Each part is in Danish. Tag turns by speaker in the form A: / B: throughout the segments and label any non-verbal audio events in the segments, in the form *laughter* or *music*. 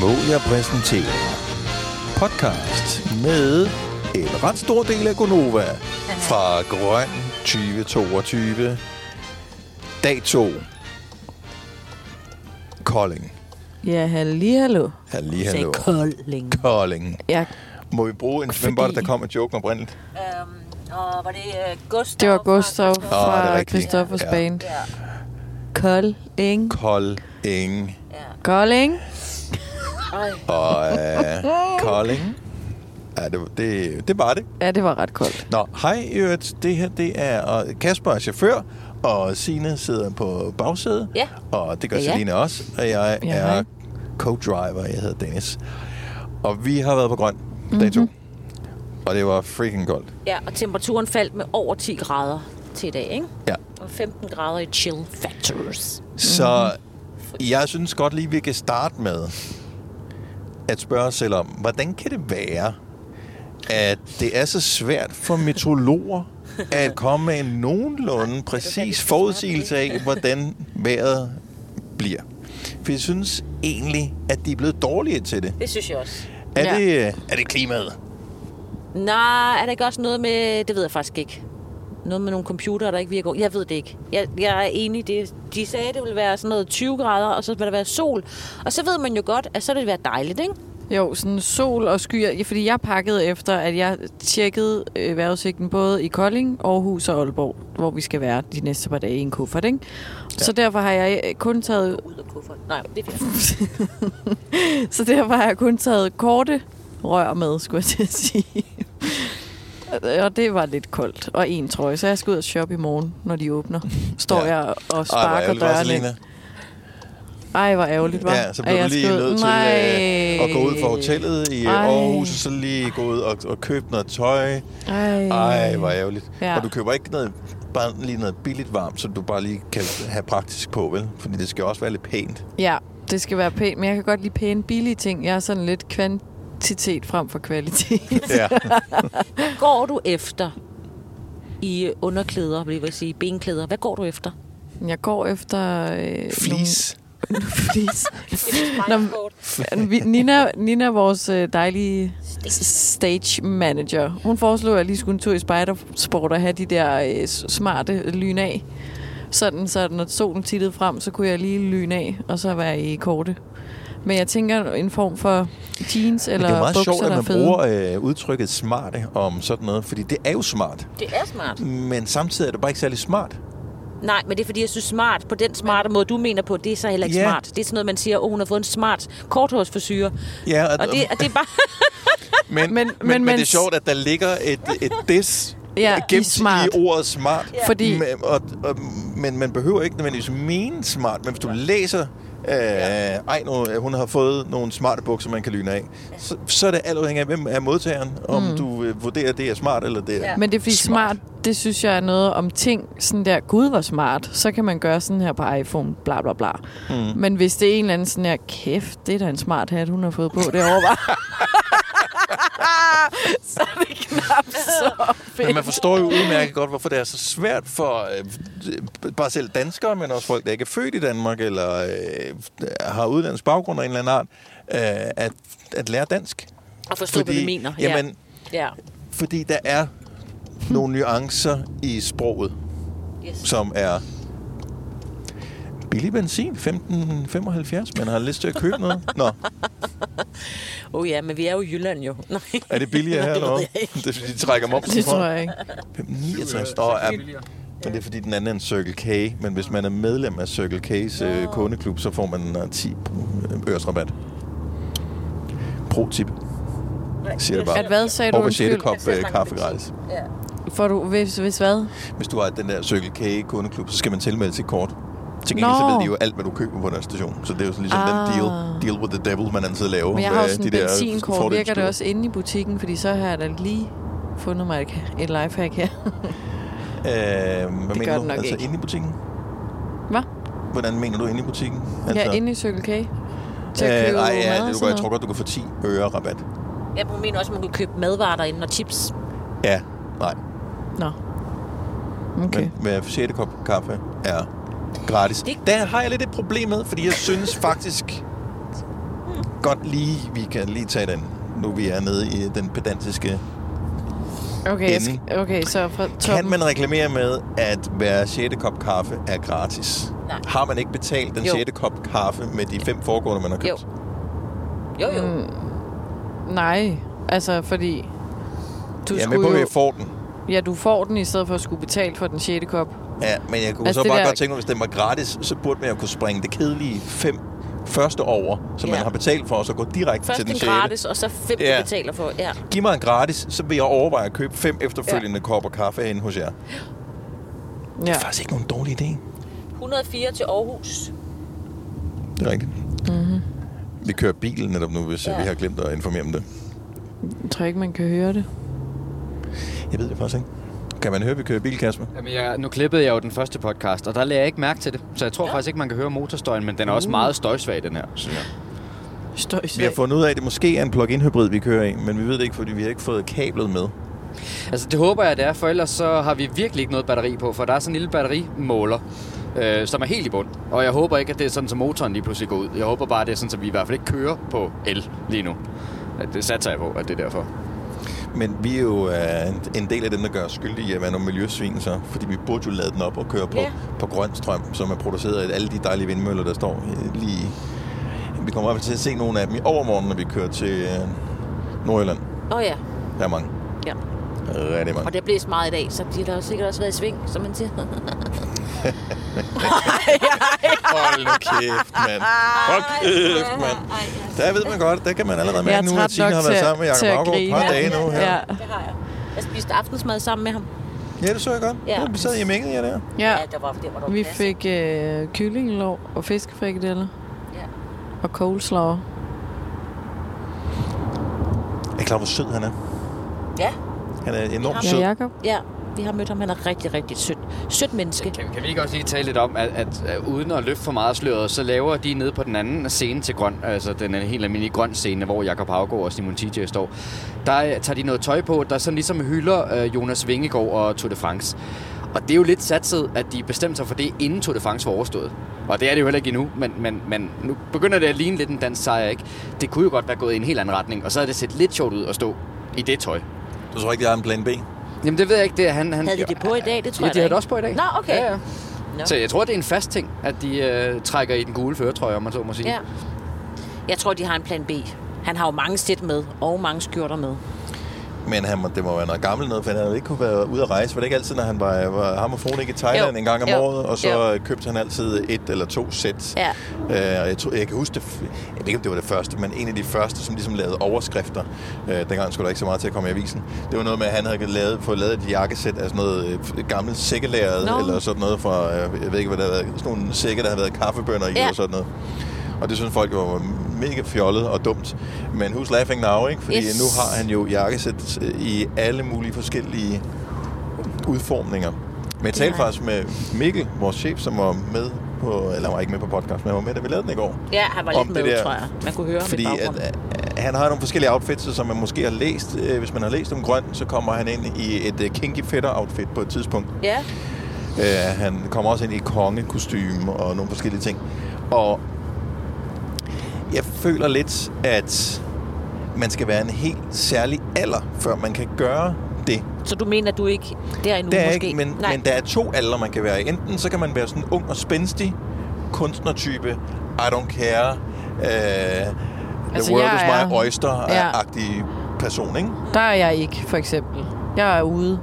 A: må jeg præsentere podcast med en ret stor del af Gonova fra Grøn 2022. Dag 2. Kolding.
B: Ja, halli, hallo.
A: Halli, hallo.
C: Kolding.
A: Kolding.
B: Ja,
A: Må vi bruge en... Hvem var det, der kom med joken oprindeligt?
C: Øhm, og var det uh, Gustav?
B: det var
C: fra-
B: Gustav
A: det er
B: fra
A: rigtigt.
B: Christoffers
A: Ja.
B: band.
C: Ja,
B: Kolding.
A: Kolding.
C: ja.
B: Kolding.
C: Ej,
A: Og øh, Kolding. Ja, det, det, det var det.
B: Ja, det var ret koldt.
A: Nå, hej i øvrigt. Det her, det er og Kasper er chauffør, og Sine sidder på bagsædet.
C: Ja.
A: Og det gør
C: Ja, ja.
A: Selina også. Og jeg
B: Ja,
A: er
B: hej.
A: co-driver. Jeg hedder Dennis. Og vi har været på grøn dag
C: Mhm.
A: to. Og det var freaking koldt.
C: ja, og temperaturen faldt med over 10 grader til i dag, ikke?
A: Ja.
C: Og 15 grader i chill factors.
A: Så
B: Mhm.
A: jeg synes godt lige, vi kan starte med at spørge os selv om, hvordan kan det være, at det er så svært for meteorologer
B: *laughs*
A: at komme med en nogenlunde præcis forudsigelse af, hvordan vejret bliver? For jeg synes egentlig, at de er blevet dårligere til det.
C: Det synes jeg også.
A: Er,
B: Ja.
A: det, øh, er det klimaet?
C: Nej, er der ikke også noget med... Det ved jeg faktisk ikke. Noget med nogle computere, der ikke virker. Jeg ved det ikke. Jeg, jeg er enig i det. De sagde, det ville være sådan noget 20 grader, og så vil der være sol. Og så ved man jo godt, at så vil det være dejligt, ikke?
B: Jo, sådan sol og skyer. Ja, Fordi jeg pakkede efter, at jeg tjekkede øh, vejrudsigten både i Kolding, Aarhus og Aalborg, hvor vi skal være de næste par dage i en kuffert, ikke? Ja. Så derfor har jeg øh, kun taget
C: Ud af kuffert. Nej, det er fint.
B: Så derfor har jeg kun taget korte rør med, skulle jeg til at sige. Og det var lidt koldt. Og en trøje. Så jeg skal ud og shoppe i morgen, når de åbner. Står
A: Ja.
B: ja. jeg og
A: Ej, hvor
B: sparker
A: ærgerligt,
B: dørene.
A: Selina.
B: Ej, hvor ærgerligt, var.
A: Ja, så blev du lige nødt til øh, at gå ud fra hotellet i øh,
B: Ej.
A: Aarhus, og så lige gå ud og, og købe noget tøj.
B: Ej,
A: Ej, hvor ærgerligt. Ja.
B: Øh, Ja.
A: Og du køber ikke noget, bare lige noget billigt varmt, som du bare lige kan have praktisk på, vel? Fordi det skal jo også være lidt pænt.
B: Ja, det skal være pænt. Men jeg kan godt lide pæne, billige ting. Jeg er sådan lidt kvantitet frem for kvalitet.
A: *laughs* Ja.
C: går du efter i underklæder, vil jeg vil sige, benklæder? Hvad går du efter?
B: Jeg går efter... Øh,
A: Flis.
B: Nogle... *laughs* Flis. Nå, men- Øh, Vi- Nina, Nina, vores øh, dejlige stage manager, hun foreslog, at jeg lige skulle en tur i Spidersport og have de der øh, s- smarte lyn af. Sådan, så når solen tittede frem, så kunne jeg lige lyne af, og så være i korte. Men jeg tænker en form for jeans
A: Men
B: eller
A: det er jo meget
B: bukser,
A: sjovt, at
B: der er
A: man
B: fede.
A: bruger øh, udtrykket smarte om sådan noget, fordi det er jo smart.
C: Det er smart.
A: Men samtidig er det bare ikke særlig smart.
C: Nej, men det er fordi, jeg synes smart på den smarte måde, du mener på, det er så heller ikke
A: Ja.
C: yeah. smart. Det er sådan noget, man siger, åh, oh, hun har fået en smart korthårsforsyre.
A: Ja,
C: Og det, og det er bare... *laughs*
A: men, men,
B: men-
A: men, men, men det er
B: men-
A: sjovt, at der ligger et, et dis
B: Ja, i
A: gemt
B: smart.
A: i ordet smart.
B: Ja. Fordi-
A: Men, og, og, men man behøver ikke nødvendigvis mene smart, men hvis du læser, øh, ej, nu, hun har fået nogle smarte bukser, man kan lyne af, så, så er det alt afhængigt af, hvem er modtageren, om du øh, vurderer, at det er smart eller det er...
C: Ja.
B: Men det er fordi smart. smart, det synes jeg er noget om ting, sådan der, gud var smart, så kan man gøre sådan her på iPhone, bla bla bla. Mm. Men hvis det er en eller anden sådan her, kæft, det er da en smart hat, hun har fået på
A: *laughs*
B: derovre, var. så er det knap så fedt.
A: Men man forstår jo udmærket godt, hvorfor det er så svært for øh, bare selv danskere, men også folk, der ikke er født i Danmark, eller øh, har udlandets baggrund af en eller anden art, øh, at, at lære dansk.
C: Og forstå, hvad du mener.
A: Jamen,
C: ja.
A: fordi der er nogle nuancer i sproget,
C: ja. Yes.
A: som er billig benzin, 15,75. Man har lyst til at købe noget. Nå,
C: Oh ja, men vi er jo i Jylland jo. *laughs* Nej.
A: er det billigere her
C: det
A: eller
C: ved
A: hvad?
C: jeg ikke.
A: *laughs* Det er fordi, de trækker momsen
B: Det tror
A: fra.
B: jeg ikke.
A: 5,69. Nå, ja, men det er fordi, den anden er en Circle K. Men hvis man er medlem af Circle K's øh, kundeklub, så får man øh, 10 øres rabat. Pro-tip. Siger det bare.
B: At hvad sagde du?
A: Og på 6.
B: Undskyld.
A: kop øh, kaffe gratis.
B: Får du, hvis, hvis hvad?
A: Hvis du har den der Circle K kundeklub, så skal man tilmelde sit kort. Til gengæld så
B: Nå.
A: ved de jo alt, hvad du køber på deres station. Så det er jo sådan ligesom ah. den
B: Ah.
A: deal, deal with the devil, man altid laver.
B: Men jeg har
A: med
B: jo sådan en
A: der
B: benzinkort, virker det
A: fordelsklubber.
B: også inde i butikken, fordi så har jeg da lige fundet mig et, et lifehack her.
A: Øh, hvad det
B: Det
A: mener
B: gør
A: du?
B: det nok
A: altså
B: ikke.
A: inde i butikken?
B: Hvad?
A: Hvordan mener du inde i butikken? Altså,
B: Jeg er inde i Circle K. Til at købe
A: øh, ej,
B: mad
A: ja,
B: og
A: det, du,
B: sådan
A: jeg tror
B: noget.
A: godt, du kan få 10 øre rabat.
C: Jeg mener også, at man kunne købe madvarer derinde og chips.
A: Ja, nej.
B: Nå. Okay.
A: Okay. Men hver 6. kop kaffe er gratis.
C: Det-
B: *laughs*
A: Der har jeg lidt et problem med, fordi jeg synes faktisk godt lige, vi kan lige tage den, nu vi er nede i den pedantiske
B: Okay, jeg
A: Inden.
B: skal, okay så fra toppen.
A: Kan man reklamere med, at hver 6. kop kaffe er gratis?
C: Nej.
A: Har man ikke betalt den
C: Jo.
A: 6. kop kaffe med de fem foregående, man har købt?
C: Jo. Jo, jo. Mm.
B: Nej, altså fordi... Du
A: jeg er med
B: skulle
A: på, at
B: jo,
A: jeg får den.
B: Ja, du får den i stedet for at skulle betale for den 6. kop.
A: Ja, men jeg kunne
B: Altså,
A: altså, så
B: det
A: bare
B: der-
A: der... godt tænke mig, hvis den var gratis, så burde man jo kunne springe det kedelige fem første over, som
C: Ja.
A: ja. man har betalt for, og så gå direkte
C: Først
A: til den
C: en
A: 6.
C: gratis, og så fem, ja.
A: Ja.
C: du betaler for. Ja.
A: Giv mig en gratis, så vil jeg overveje at købe fem efterfølgende ja. kopper kaffe herinde hos jer. Det
B: Ja.
A: er faktisk ikke nogen dårlig idé.
C: 104 til Aarhus.
A: Det er rigtigt. Mm-hmm. Vi kører bilen netop nu, hvis
C: Ja.
A: ja. vi har glemt at informere om det.
B: Jeg tror ikke, man kan høre det.
A: Jeg ved det faktisk ikke. Kan man høre, at vi kører bil, Kasper?
D: Jamen, jeg, nu klippede jeg jo den første podcast, og der lagde jeg ikke mærke til det. Så jeg tror ja. faktisk ikke, man kan høre motorstøjen, men den er også meget støjsvag, den her, synes jeg.
A: Vi har
B: Støjsvagt.
A: fundet ud af, at det måske er en plug-in hybrid, vi kører i, men vi ved det ikke, fordi vi har ikke fået kablet med.
D: Altså, det håber jeg, det er, for ellers så har vi virkelig ikke noget batteri på, for der er sådan en lille batterimåler, øh, som er helt i bund. Og jeg håber ikke, at det er sådan, så motoren lige pludselig går ud. Jeg håber bare, at det er sådan, så vi i hvert fald ikke kører på el lige nu. At Det satser jeg på, at det er derfor.
A: Men vi er jo øh, en- en del af dem, der gør os skyldige i at være nogle miljøsvin, så, fordi vi burde jo lade den op og køre på,
C: Ja.
A: ja. på grøn strøm, som er produceret af alle de dejlige vindmøller, der står øh, lige... Vi kommer i hvert fald til at se nogle af dem i overmorgen, når vi kører til øh, Nordjylland.
C: Åh oh, ja.
A: Der er mange.
C: ja.
A: Rigtig mange.
C: Og det blæste meget i dag, så de har da sikkert også været i sving, som man *laughs* siger.
A: Hold nu kæft,
B: *laughs*
A: mand. Hold kæft, mand. Der ved man godt, der kan man allerede
B: Jeg er
A: mærke nu, at
B: træt
A: Signe har
B: nok til,
A: været sammen med
B: til
A: Jacob Haugaard
B: at
A: et
B: grine.
A: par dage nu. Her.
B: Ja.
A: Ja.
C: Det har jeg. Jeg spiste aftensmad sammen med ham.
A: ja, det så jeg godt.
C: Ja.
A: Ja. Vi sad i mænget, jeg der.
B: ja.
C: der var, der var der
B: Vi
C: plads.
B: fik øh, kyllingelov og fiskefrikadeller
C: Ja.
B: og coleslaw.
A: Jeg er klar, hvor sød han er.
C: Ja.
A: Han er enormt
B: Ja,
A: sød.
B: Jacob.
C: ja, vi har mødt ham. Han er rigtig, rigtig sødt. Sødt menneske.
D: Kan, kan vi ikke også lige tale lidt om, at, at, at uden at løfte for meget af sløret, så laver de nede på den anden scene til grøn, altså den er helt almindelige grøn scene, hvor Jakob Haugaard og Simon TJ står, der øh, tager de noget tøj på, der sådan ligesom hylder øh, Jonas Vingegaard og Tour de France. Og det er jo lidt satset, at de bestemte sig for det, inden Tour de France var overstået. Og det er det jo heller ikke endnu, men, men, men nu begynder det at ligne lidt en dansk sejr, ikke? Det kunne jo godt være gået i en helt anden retning, og så havde det set lidt sjovt ud at stå i det tøj.
A: Du tror ikke, jeg har en plan B?
D: Jamen det ved jeg ikke, det er han... han
C: Havde de det på i dag? Det tror
D: ja,
C: jeg
D: de
C: da
D: havde det
C: ikke.
D: også på i dag.
C: Nå, okay.
D: Ja, ja.
C: Nå.
D: Så jeg tror, det er en fast ting, at de øh, trækker i den gule føretrøje, om man så må sige.
C: Ja. Jeg tror, de har en plan B. Han har jo mange sæt med, og mange skjorter med.
A: Men han må, det må være noget gammelt noget, for han havde ikke kunne være ude at rejse. Var det ikke altid, når han var, var ham og fruen ikke i Thailand
C: Jo.
A: en gang om
C: Jo.
A: året, og så
C: Jo.
A: jo. købte han altid et eller to sæt.
C: Ja.
A: Øh, og jeg, tror, jeg kan huske det, f- jeg ved ikke, om det var det første, men en af de første, som ligesom lavede overskrifter. Øh, dengang skulle der ikke så meget til at komme i avisen. Det var noget med, at han havde lavet, fået lavet et jakkesæt af sådan noget øh, f- gammelt sækkelæret,
C: Nå.
A: no. eller sådan noget fra, øh, jeg ved ikke, hvad der havde været, sådan nogle sække, der havde været kaffebønder i,
C: Ja.
A: ja. og sådan noget. Og det synes folk jo var mega fjollet og dumt. Men who's laughing now, ikke? Fordi
C: Yes.
A: yes. nu har han jo jakkesæt øh, i alle mulige forskellige udformninger. Men jeg talte
C: Nej.
A: faktisk med Mikkel, vores chef, som var med på, eller han var ikke med på podcast, men han var med, da vi lavede den i går.
C: Ja, han var
A: Om
C: lidt med,
A: det der.
C: tror jeg. Man kunne høre
A: Fordi
C: ham i baggrunden.
A: at,
D: øh,
A: at, han har nogle forskellige outfits, som man måske har læst. Øh, Hvis man har læst om grøn, så kommer han ind i et øh, kinky fætter outfit på et tidspunkt.
C: Ja,
A: Øh, han kommer også ind i kongekostyme og nogle forskellige ting. Og jeg føler lidt, at man skal være en helt særlig alder, før man kan gøre det.
C: så du mener, at du ikke... Det er endnu
A: Det er
C: måske.
A: ikke, men,
C: Nej.
A: men der er to aldre, man kan være i. Enten så kan man være sådan en ung og spændstig kunstnertype, I don't care, øh, the
B: Altså,
A: altså, world
B: jeg
A: is
B: er-
A: my
B: Ja.
A: oyster-agtig person, ikke?
B: Der er jeg ikke, for eksempel. Jeg er ude.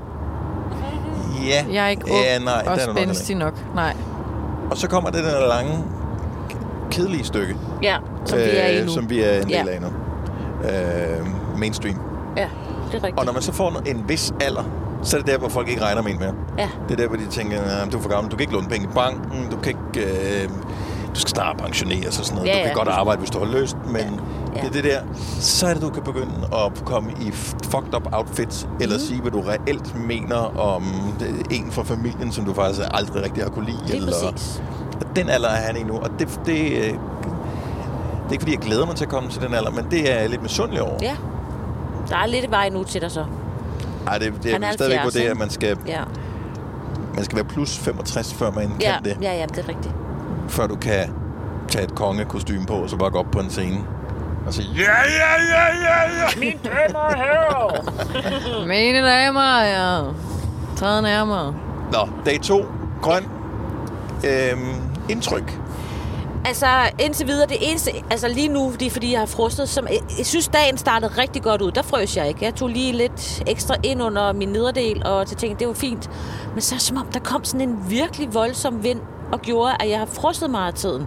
A: Ja,
B: Jeg er ikke ung
A: ja, nej,
B: og
A: der er du nok heller
B: spændstig nok. Nej.
A: ikke. Og så kommer det der lange, kedelige stykke,
C: Ja, som vi er
D: Øh,
C: i nu.
A: Øh, som vi er en del
C: Ja.
A: af nu. Øh, mainstream.
C: Ja, det er rigtigt.
A: Og når man så får en vis alder, så er det der, hvor folk ikke regner med en mere.
C: Ja.
A: Det er der, hvor de tænker, "Nå, du er for gammel, du kan ikke låne penge i banken, du kan ikke... Øh, du skal snart pensioneres og sådan noget.
C: Ja,
A: Ja, du
C: ja.
A: kan godt arbejde, hvis du har lyst, men
C: Ja.
A: ja. det er det der. Så er det, du kan begynde at komme i fucked up outfits, eller
C: Mhm.
A: sige, hvad du reelt mener om øh, en fra familien, som du faktisk aldrig rigtig har kunne lide.
C: Lige
A: eller,
C: præcis.
A: og den alder er han i nu, og det, det, øh, det er ikke, fordi jeg glæder mig til at komme til den alder, men det er jeg lidt misundelig over.
C: Ja. Der er lidt vej nu til dig så.
A: Ej, det, det, jeg
C: Han er
A: vil stadigvæk
C: 70,
A: vurdere,
C: ikke?
A: at man skal,
C: Ja,
A: man skal være plus 65, før man
C: ja,
A: kan det.
C: ja, ja det er rigtigt.
A: Før du kan tage et kongekostume på, og så bare gå op på en scene. og sige, ja, ja, ja, ja, ja.
B: Mine damer, ja. Træd nærmere.
A: Nå, dag to. Grøn. Øhm, indtryk.
C: Altså, indtil videre, det eneste... Altså, lige nu, det er fordi, jeg har frostet. Som, jeg, jeg synes, dagen startede rigtig godt ud. Der frøs jeg ikke. Jeg tog lige lidt ekstra ind under min nederdel, og så tænkte, det var fint. Men så er det som om, der kom sådan en virkelig voldsom vind, og gjorde, at jeg har frostet meget af tiden.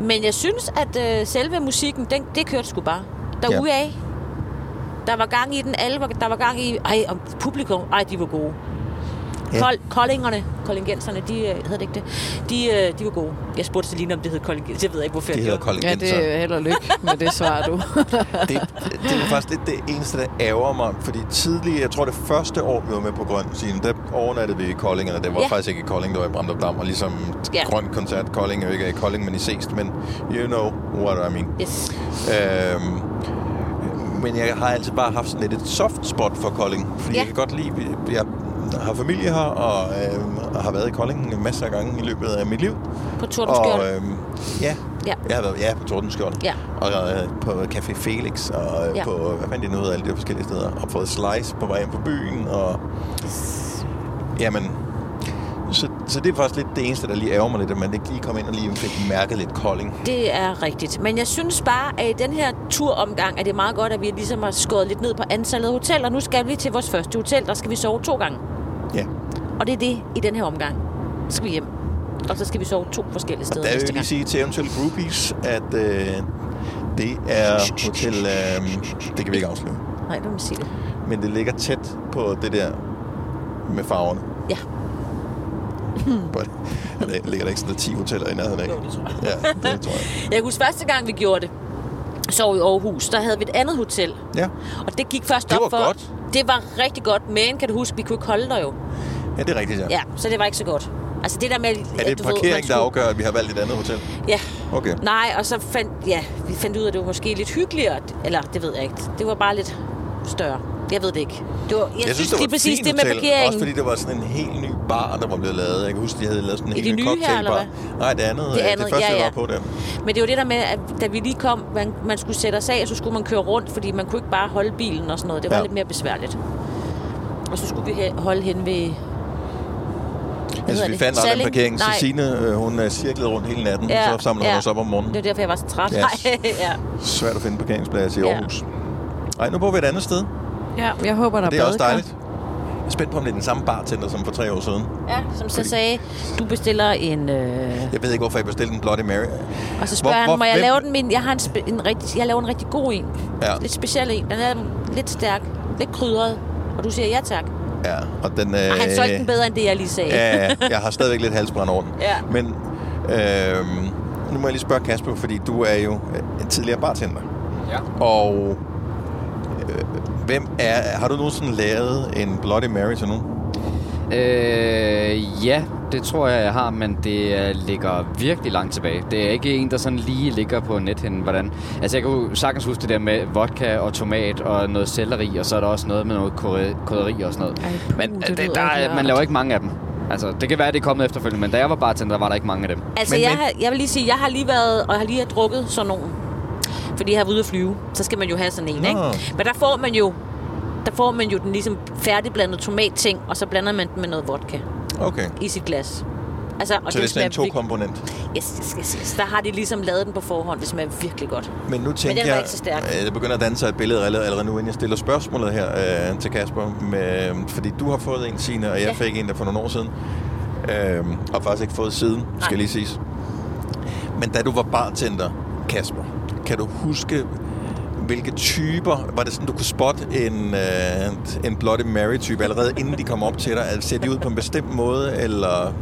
C: Men jeg synes, at øh, selve musikken, den, det kørte sgu bare. Derude af. Der var gang i den. Alle var, der var gang i... Ej, og publikum. Ej, de var gode.
A: Ja.
C: Ja. Kol, koldingerne, koldingenserne, de øh, hedder det ikke det, de, øh, de var gode. Jeg spurgte Selina, om det hed koldingens. Jeg ved ikke, hvorfor
A: Det
C: jeg
A: hedder
C: gjorde
A: kold
B: Ja,
A: igen, så.
B: det er held og lykke med det svar, du.
A: *laughs* det, det er faktisk lidt det eneste, der ærger mig. Fordi tidligere, jeg tror det første år, vi var med på Grøn Scene, der overnattede vi i Kolding, og det var ja.
C: Ja.
A: faktisk ikke i Kolding, det var i Bramdrup Dam, og ligesom ja.
C: Ja.
A: Grøn Koncert Kolding er jo ikke i Kolding, men i Seest, men you know what I mean.
C: Yes.
A: Øhm, men jeg har altid bare haft sådan lidt et soft spot for Kolding, fordi ja.
C: Ja.
A: jeg kan godt lide, vi- jeg har familie her, og øh, har været i Kolding masser af gange i løbet af mit liv.
C: På
A: Og
C: Tordenskjold. Øh,
A: øh, ja,
C: ja.
A: jeg har været ja, på Tordenskjold.
C: Ja.
A: Og øh, på Café Felix, og øh, ja.
C: Ja.
A: på, hvad fanden det nu hedder, alle de der forskellige steder. Og fået slice på vej hjem på byen, og... Jamen... Så, så det er faktisk lidt det eneste, der lige ærger mig lidt, at man ikke lige kom ind og lige fik mærket lidt kolding.
C: Det er rigtigt. Men jeg synes bare, at i den her turomgang, at det er meget godt, at vi ligesom har skåret lidt ned på antallet af hoteller. Nu skal vi lige til vores første hotel, der skal vi sove to gange.
A: Ja.
C: Og det er det i den her omgang. Så skal vi hjem. Og så skal vi sove to forskellige
A: Og
C: steder
A: der vil
C: næste
A: jeg lige
C: gang.
A: sige til eventuelle groupies, at øh, det er hotel... Øh, det kan vi ikke afsløre.
C: Nej, hvad man sige det.
A: Men det ligger tæt på det der med farverne.
C: Ja.
A: But, der ligger der ikke sådan 10 hoteller i nærheden af? Jo, det tror jeg. Ja, det tror jeg.
C: Jeg husker første gang, vi gjorde det, sov i Aarhus, der havde vi et andet hotel.
A: Ja,
C: Og det gik først
A: Det
C: op
A: var
C: for...
A: godt.
C: Det var rigtig godt, men kan du huske, vi kunne ikke holde dig jo.
A: ja det er rigtigt, ja.
C: Ja, så det var ikke så godt. Altså det der med...
A: Er det parkering, der afgør, at vi har valgt et andet hotel?
C: Ja.
A: Okay.
C: Nej, og så fandt... Ja, vi fandt ud af, at det var måske lidt hyggeligere. Eller, det ved jeg ikke. Det var bare lidt større. Jeg ved det ikke. Det var, jeg, jeg synes,
A: det var
C: lige
A: et
C: præcis
A: fint
C: det med
A: hotel, Også
C: parkeringen.
A: fordi det var sådan en helt ny bar, der var blevet lavet. Jeg kan huske, de havde lavet sådan en
C: I
A: helt
C: det
A: ny
C: nye her,
A: cocktailbar.
C: eller
A: Nej, det andet.
C: Det
A: Det, andet,
C: andet,
A: det første,
C: ja,
A: jeg
C: ja.
A: var på der.
C: Men det var det der med, at da vi lige kom, man, man skulle sætte os af, og så skulle man køre rundt, fordi man kunne ikke bare holde bilen og sådan noget. Det var
A: Ja.
C: ja. lidt mere besværligt. Og så skulle vi he- holde hen ved... Hvad hedder
A: Altså, vi
C: det?
A: fandt aldrig en
C: Salling?
A: parkering.
C: Nej.
A: Ceciline, øh, hun er cirklet rundt hele natten, ja. så samlede hun os op om morgenen.
C: Det var derfor, jeg var så træt.
A: Yes.
C: Yes. *laughs* ja.
A: Svært at finde parkeringsplads i
C: Ja.
A: Aarhus. Nej, nu bor vi et andet sted.
B: Ja, jeg håber, der
A: Det er også
B: badekar.
A: dejligt. Jeg er spændt på, om det er den samme bartender som for tre år siden.
C: ja. Som så
A: Fordi-
C: sagde, du bestiller en... Øh...
A: Jeg ved ikke, hvorfor jeg bestilte en Bloody Mary.
C: Og så spørger
A: Hvor-
C: hvor,
A: hvor-
C: han, må jeg
A: hvem-
C: lave den min... Jeg, har en, spe- en rigtig, jeg laver en rigtig god en.
A: Ja.
C: Lidt speciel en. Den er lidt stærk, lidt krydret. Og du siger ja tak.
A: Ja, og den... Øh,
C: Og han solgte den bedre, end det, jeg lige sagde.
A: Ja, ja, jeg har stadigvæk lidt halsbrand over den.
C: Ja.
A: Men øh, nu må jeg lige spørge Kasper, fordi du er jo øh, en tidligere bartender.
D: Ja.
A: Og øh, hvem er, har du nogensinde lavet en Bloody Mary til nogen?
D: Øh, ja, det tror jeg, jeg har, men det øh, ligger virkelig langt tilbage. Det er ikke en, der sådan lige ligger på nethinden, hvordan... Altså, jeg kan jo sagtens huske det der med vodka og tomat og noget selleri, og så er der også noget med noget krydderi- krydderi og sådan noget.
B: Ej, puh,
D: men
B: det
D: øh,
B: lyder ikke
D: der, er- man
B: rart.
D: laver ikke mange af dem. Altså, det kan være, det er kommet efterfølgende, men da jeg var bartender, var der ikke mange af dem.
C: Altså,
A: Men-
C: men, jeg,
A: men-
C: Har, jeg vil lige sige, jeg har lige været, og har lige drukket sådan nogen. Fordi jeg har været ude at flyve. Så skal man jo have sådan en,
A: Nå.
C: ikke? Men der får man jo der får man jo den ligesom færdigblandede tomatting, og så blander man den med noget vodka
A: Okay.
C: i sit glas. Altså, og
A: Så det er sådan en
C: smager virkelig-
A: to-komponent.
C: yes, yes, yes, yes. Der har de ligesom lavet den på forhånd. Det smager virkelig godt.
A: Men nu tænker
C: den var
A: jeg,
C: ikke så stærk.
A: øh, jeg begynder at danne sig et billede allerede, allerede nu, inden jeg stiller spørgsmålet her øh, til Kasper. Med, øhm, fordi du har fået en, Signe, og jeg ja.
C: Ja.
A: fik en der for nogle år siden. Øh, og faktisk ikke fået siden, skal
C: Nej.
A: lige siges. Men da du var bartender, Kasper, kan du huske, hvilke typer... Var det sådan, du kunne spotte en, øh, en Bloody Mary-type allerede, inden de kom op til dig? Altså, ser de ud på en bestemt måde, eller...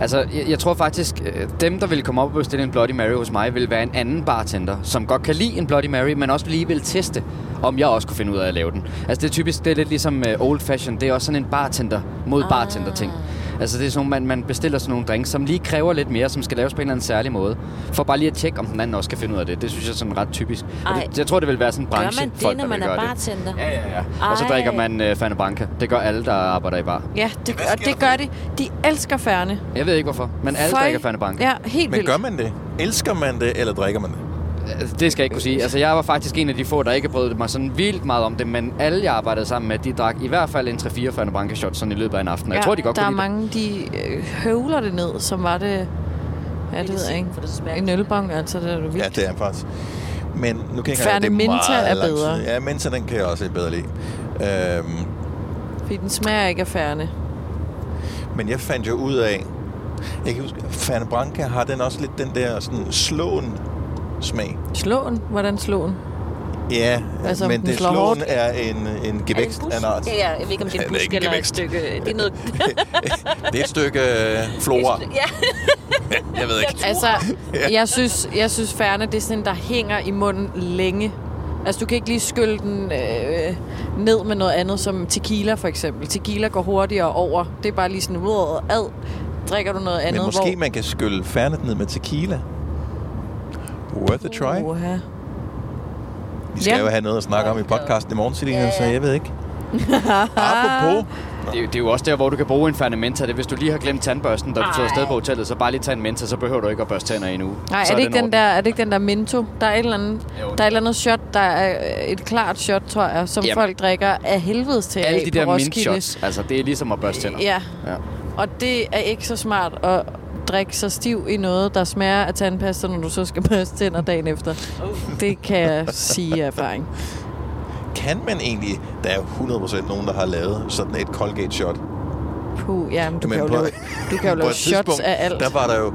D: Altså, jeg, jeg tror faktisk, øh, dem, der ville komme op og bestille en Bloody Mary hos mig, ville være en anden bartender, som godt kan lide en Bloody Mary, men også lige vil teste, om jeg også kunne finde ud af at lave den. Altså, det er typisk, det er lidt ligesom øh, old fashion. Det er også sådan en bartender
C: Ah.
D: mod bartender ting. Altså, det er sådan, nogle- man, man bestiller sådan nogle drinks, som lige kræver lidt mere, som skal laves på en eller anden særlig måde. For bare lige at tjekke, om den anden også kan finde ud af det. Det synes jeg er sådan ret typisk. Og
C: Ej.
D: det, jeg tror, det vil være sådan en branche,
C: Gør man det,
D: folk,
C: når
D: der
C: man
D: vil
C: er
D: gøre
C: bartender?
D: Det. Ja, ja, ja. Og så
C: Ej.
D: drikker man øh, Fanta Branca. Det gør alle, der arbejder i bar.
B: Ja, det, og det gør de. De elsker færne.
D: Jeg ved ikke hvorfor, men alle drikker Fanta Branca.
B: Ja, helt
A: Men
B: vildt.
A: gør man det? Elsker man det, eller drikker man det?
D: Altså, Det skal jeg ikke kunne sige. Altså, jeg var faktisk en af de få, der ikke brød mig sådan vildt meget om det, men alle, jeg arbejdede sammen med, de drak i hvert fald en 3-4 Fernand shots sådan i løbet af en aften. Og ja, jeg tror, de godt
B: der er
D: kunne lide
B: mange, de øh, høvler det ned, som var det... Ja, det ved jeg ikke.
C: For det smager
B: En ølbong, altså, det er jo
A: Ja,
B: vildt.
A: det er faktisk. Men nu kan jeg
B: Fernet
A: det er
B: Minta
A: meget
B: er
A: lang tid.
B: bedre.
A: Ja, Minta, den kan jeg også bedre lide. Øhm,
B: Fordi den smager ikke af færne.
A: men jeg fandt jo ud af, jeg kan huske, Fane Branca har den også lidt den der sådan slåen smag.
B: Slåen? Hvordan slåen?
A: Ja,
B: Altså,
A: altså,
B: den
A: men det
B: slår
A: slåen
B: hårdt.
A: er en, en
C: Er det en
A: gevækst
C: bus?
A: af en art.
C: Ja, ja, jeg ved ikke, om det er
A: Ja, det er
C: en busk
A: ikke en
C: eller et
A: gevækst.
C: stykke... Det er noget...
A: Det er et stykke øh, flora.
C: ja,
A: Jeg ved ikke.
B: Altså, jeg synes, jeg synes færne, det er sådan en, der hænger i munden længe. Altså, du kan ikke lige skylle den øh, ned med noget andet, som tequila for eksempel. Tequila går hurtigere over. Det er bare lige sådan, "Wow, ad, drikker du noget andet,
A: Men måske
B: hvor...
A: man kan skylle fernet ned med tequila. Worth a try.
B: Uha.
A: Vi skal
B: Ja.
A: jo have noget at snakke om i podcasten i morgen, Selina, så jeg ved *laughs* ikke. Apropos,
D: det. Det, er jo- det er jo også der, hvor du kan bruge en Fernand Menta. Det, er, hvis du lige har glemt tandbørsten, da du tog afsted på hotellet, så bare lige tage en Menta, så behøver du ikke at børste tænder i en uge.
B: Nej,
D: så
B: er det, ikke den
D: ordnet.
B: der, er det ikke den der Minto? Der er et eller andet,
D: Jo.
B: der er et eller andet shot, der er øh, et klart shot, tror jeg, som
D: Jamen.
B: folk drikker af helvedes til
D: Alle
B: af
D: de
B: øh, på
D: der mint
B: Roskilde.
D: shots, altså det er ligesom at børste tænder.
B: Ja,
D: ja.
B: og det er ikke så smart at drikke sig stiv i noget, der smager af tandpasta, når du så skal børste tænder dagen efter. Det kan jeg sige af erfaring.
A: kan man egentlig... Der er jo 100% nogen, der har lavet sådan et Colgate-shot.
B: Puh, ja, men du,
A: Men
B: kan jo
A: på-
B: lave, du kan jo
A: *laughs* På
B: lave
A: et
B: shots
A: tidspunkt,
B: af alt.
A: Der var der jo...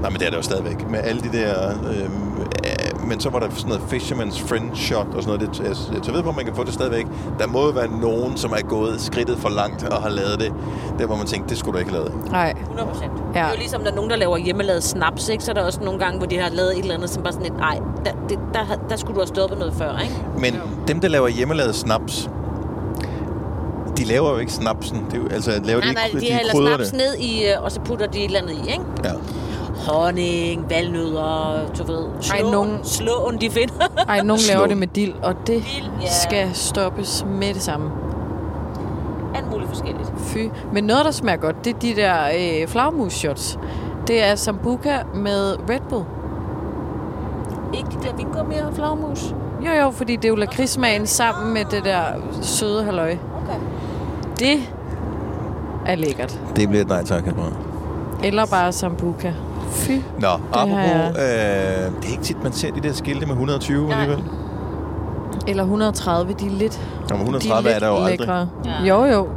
A: Nej, men det er der jo stadigvæk. Med alle de der... øhm, Øh, men så var der sådan noget Fisherman's Friend shot og sådan noget. Det, jeg, jeg tager ved på, om man kan få det stadigvæk. Der må jo være nogen, som er gået skridtet for langt og har lavet det. Der hvor man tænkte, det skulle du ikke have lavet.
B: Nej,
C: 100 procent. Ja. Det
B: Ja.
C: er jo ligesom, der er nogen, der laver hjemmelavet snaps, ikke? Så er der også nogle gange, hvor de har lavet et eller andet, som bare sådan et... Ej, der, det, der, der skulle du have stoppet noget før, ikke?
A: Men dem, der laver hjemmelavet snaps, de laver jo ikke snapsen. Det er jo, altså, laver
C: Nej,
A: de,
C: nej,
A: ikke,
C: de hælder
A: krydrer
C: snaps
A: det.
C: ned i, øh, og så putter de et eller andet i, ikke?
A: Ja.
C: Honning, valnødder, du ved. Slåen,
B: nogen-
C: slåen de finder.
B: Ej, nogen laver
A: Slå.
B: det med dild, og det
C: Dild, ja.
B: skal stoppes med det samme.
C: *laughs* Alt muligt forskelligt.
B: Fy. Men noget, der smager godt, det er de der øh, flagmus-shots. Det er sambuca med Red Bull.
C: Ikke de der vingummi og flagmus.
B: Jo, jo, fordi det er jo lakridssmagen sammen med det der søde halløj.
C: Okay.
B: Det er lækkert.
A: Det bliver et nej tak herfra.
B: Eller bare sambuca. Fy.
A: Nå, apropos,
B: har
A: øh, det er ikke tit, man ser de der skilte med 120
C: Nej.
A: alligevel.
B: Eller 130, de er lidt
A: Nå, men
B: de
A: 130 er der jo aldrig.
B: Ja. Jo, jo.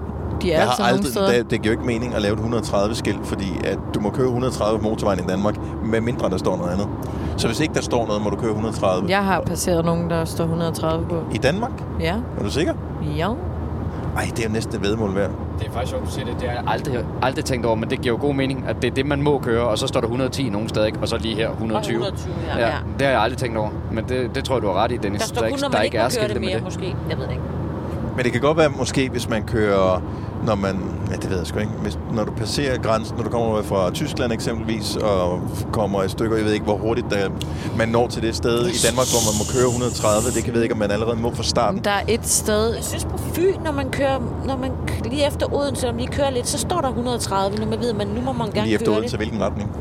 B: De er
A: Jeg
B: altså
A: har
B: nogle
A: aldrig,
B: steder.
A: det, det giver jo ikke mening at lave et 130 skilt, fordi at du må køre 130 på motorvejen i Danmark, med mindre der står noget andet. Så hvis ikke der står noget, må du køre 130.
B: Jeg har passeret nogen, der står 130 på.
A: I Danmark?
B: Ja.
A: Er du sikker?
B: Ja.
A: Ej, det er jo næsten et vedmål værd.
D: Det er faktisk sjovt, du siger det. Det har jeg aldrig, aldrig tænkt over, men det giver jo god mening, at det er det, man må køre, og så står der 110 nogen steder, ikke? og så lige her 120.
C: 120, ja.
D: ja.
C: ja.
D: Det har jeg aldrig tænkt over, men det, det tror jeg, du har ret i, Dennis.
C: Der står kun, når
D: der
C: man ikke må køre
D: skilte
C: det mere,
D: med
C: det. måske. Jeg ved det ikke.
A: Men det kan godt være, måske hvis man kører, når man, ja det ved jeg sgu ikke, hvis, når du passerer grænsen, når du kommer fra Tyskland eksempelvis, og kommer et stykke, og jeg ved ikke, hvor hurtigt der, man når til det sted i Danmark, hvor man må køre 130, det kan jeg ved ikke, om man allerede må fra starten.
B: Der er et sted...
C: Jeg synes på Fyn, når man kører, når man k- lige efter Odense, om lige kører lidt, så står der 130, når man ved, man nu må man gerne
A: Lige efter
C: køre
A: Odense, hvilken retning?
C: det.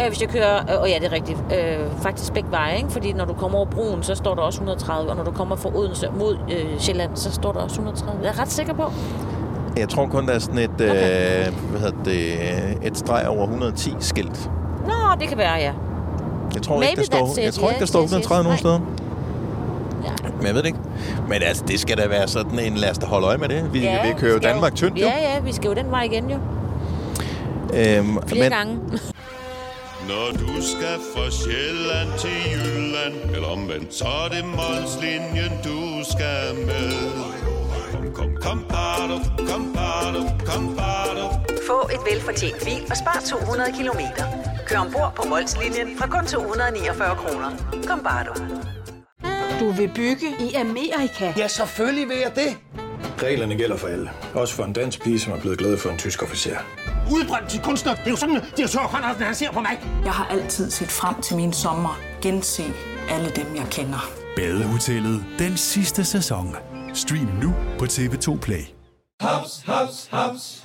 C: Øh, hvis jeg kører, øh, og ja, det er rigtigt, øh, faktisk begge veje, ikke? fordi når du kommer over broen, så står der også 130, og når du kommer fra Odense mod øh, Sjælland, så står der også 130. Jeg er ret sikker på.
A: Jeg tror kun, der er sådan et, okay. øh, hvad hedder det, et streg over 110 skilt.
C: Nå, det kan være, ja.
A: Jeg tror,
C: Maybe
A: ikke, der står,
C: that's it.
A: jeg tror ikke, der
C: Yes,
A: står
C: yes, yes.
A: 130 nogen steder.
C: Nej. ja.
A: Men jeg ved det ikke. Men altså, det skal da være sådan en, lad os da holde øje med det. Vi,
C: Ja,
A: vi kører jo
C: skal
A: Danmark tyndt, jo.
C: Ja, ja, vi skal jo den vej igen jo.
A: Øhm,
C: Flere Men... gange.
E: Når du skal fra Sjælland til Jylland Eller omvendt, så er det Molslinjen, du skal med Kom, kom, kom, bado, kom, bado, kom, bado.
F: Få et velfortjent bil og spar 200 kilometer. Kør ombord på Molslinjen fra kun 249 kroner. Kom bare du.
G: Du vil bygge i Amerika?
H: Ja, selvfølgelig vil jeg det.
I: Reglerne gælder for alle. Også for en dansk pige, som er blevet glad for en tysk officer.
J: udbrændt til kunstner. Det er jo sådan, at de har tørt, han ser på mig.
K: Jeg har altid set frem til min sommer. Gense alle dem, jeg kender.
J: Badehotellet. Den sidste sæson. Stream nu på TV2 Play.
I: Haps, haps, haps.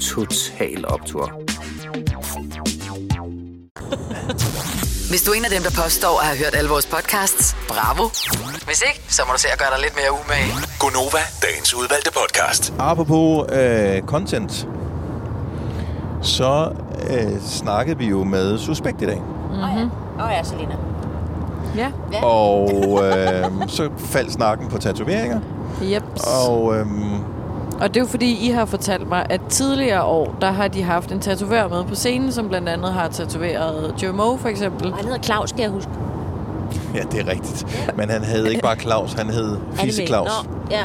L: Total Optor.
M: Hvis du er en af dem, der påstår at have hørt alle vores podcasts, bravo. Hvis ikke, så må du se at gøre dig lidt mere umage.
N: Gonova, dagens udvalgte podcast.
A: Apropos øh, content, så øh, snakkede vi jo med Suspekt i dag.
C: Åh mm-hmm. oh, ja. Oh, ja, Selina.
B: Ja.
C: ja.
A: Og øh, så faldt snakken på tatoveringer.
B: Yep.
A: Og øh,
B: Og det er jo fordi, I har fortalt mig, at tidligere år, der har de haft en tatovør med på scenen, som blandt andet har tatoveret Joe Moe, for eksempel.
C: Han hedder Claus, skal jeg huske.
A: ja, det er rigtigt. Men han hed ikke bare Claus, han hed Fisse Claus.
C: Nå,
A: *laughs*
C: ja.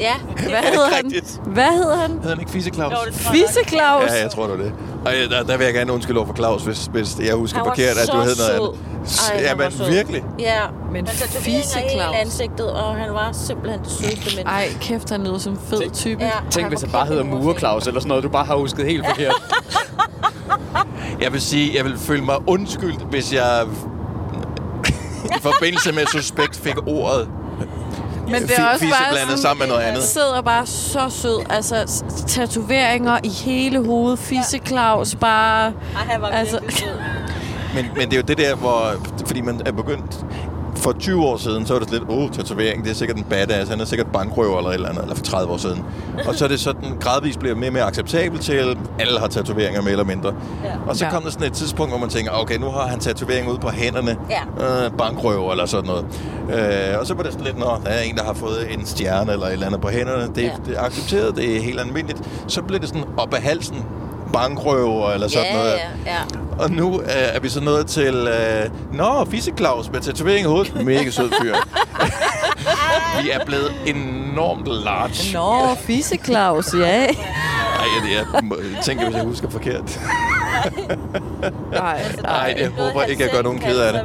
C: ja.
B: Hvad hedder han? Hvad hedder han?
A: Hed han ikke Fisse Claus?
B: Fisse Claus?
A: Ja, jeg tror, det var det. Og øh, der, der vil jeg gerne undskylde over for Claus, hvis, hvis jeg husker forkert, at du hed noget andet. S-
C: Ej, han var sød.
A: Jamen, virkelig.
C: Ja. altså,
B: Men
C: Han tatoverede
B: fise
C: hele
B: Claus.
C: ansigtet, og han var simpelthen det sødeste menneske.
B: Ej, kæft, han lyder som en fed type.
C: Ja,
D: Tænk, hvis han bare hedder Mureklaus eller sådan noget, du bare har husket helt
C: *laughs*
D: forkert.
A: Jeg vil sige, jeg vil føle mig undskyldt, hvis jeg *laughs* i forbindelse med suspekt fik ordet.
B: Men det er
A: Fi-
B: også
A: fisse
B: bare
A: blandet
B: sådan,
A: sammen med noget andet.
B: sidder bare så sød. Altså, s- tatoveringer i hele hovedet. Fisse Claus bare... Ej,
C: han var
B: altså,
A: Men, men det er jo det der, hvor, fordi man er begyndt for 20 år siden, så var det lidt, åh, oh, tatovering, det er sikkert en badass, han er sikkert bankrøver eller et eller andet, eller for 30 år siden. Og så er det sådan, gradvist bliver mere og mere acceptabelt til, alle har tatoveringer mere eller mindre. Ja. Og så
O: Ja.
A: kom der sådan et tidspunkt, hvor man tænker, okay, nu har han tatovering ude på hænderne,
O: Ja.
A: øh, bankrøver eller sådan noget. Øh, og så var det sådan lidt, når der er en, der har fået en stjerne eller et eller andet på hænderne, det, ja.
O: Ja.
A: det er accepteret, det er helt almindeligt. Så blev det sådan op af halsen, bankrøver eller *laughs* sådan noget.
C: ja.
A: Og nu øh, er vi så nået til... Øh, Nå, Fisse Claus med tatovering i hovedet. Mega sød
B: *laughs*
A: fyr. vi er blevet enormt large.
B: Nå, Fisse Claus, ja.
A: Ej, jeg, jeg må- tænker, hvis jeg husker forkert.
B: Nej,
A: Nej, jeg håber ikke, jeg gør nogen ked af det.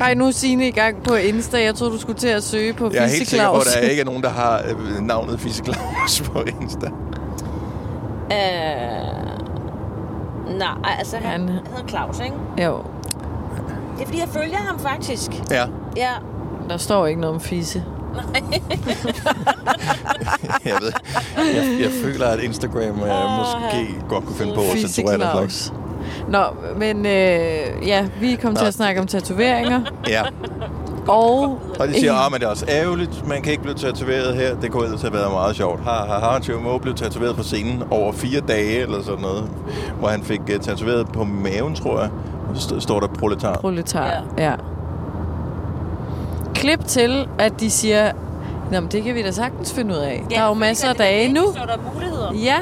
B: Ej, nu er Signe i gang på Insta. Jeg troede, du skulle til at søge på
A: Jeg er helt
B: Fisse
A: sikker på,
B: Claus.
A: at der ikke er nogen, der har øh, navnet Fisse Claus på Insta.
C: Øh, nej, altså han, han hedder Claus, ikke?
B: Jo,
C: Det er fordi, jeg følger ham faktisk.
A: Ja.
C: Ja.
B: der står ikke noget om fisse.
A: Jeg ved, jeg, jeg føler, at Instagram øh, måske godt kunne finde på at
B: Fisse
A: censurere den
B: Claus.
A: slags.
B: Nå, men øh, ja, vi kom til
A: Nå.
B: at snakke om tatoveringer.
A: Ja.
B: Og,
A: Og de
B: *laughs*
A: siger, at det er også ærgerligt, man kan ikke blive tatoveret her. Det kunne ellers have været meget sjovt. Ha, ha, ha. Joe Moe blev tatoveret på scenen over fire dage eller sådan noget, hvor han fik uh, tatoveret på maven, tror jeg. Og så st- står der proletar.
B: proletar. Ja. ja. Klip til, at de siger, Nå, men det kan vi da sagtens finde ud af. Ja, der er jo masser af dage nu.
C: Så er der muligheder.
B: Ja.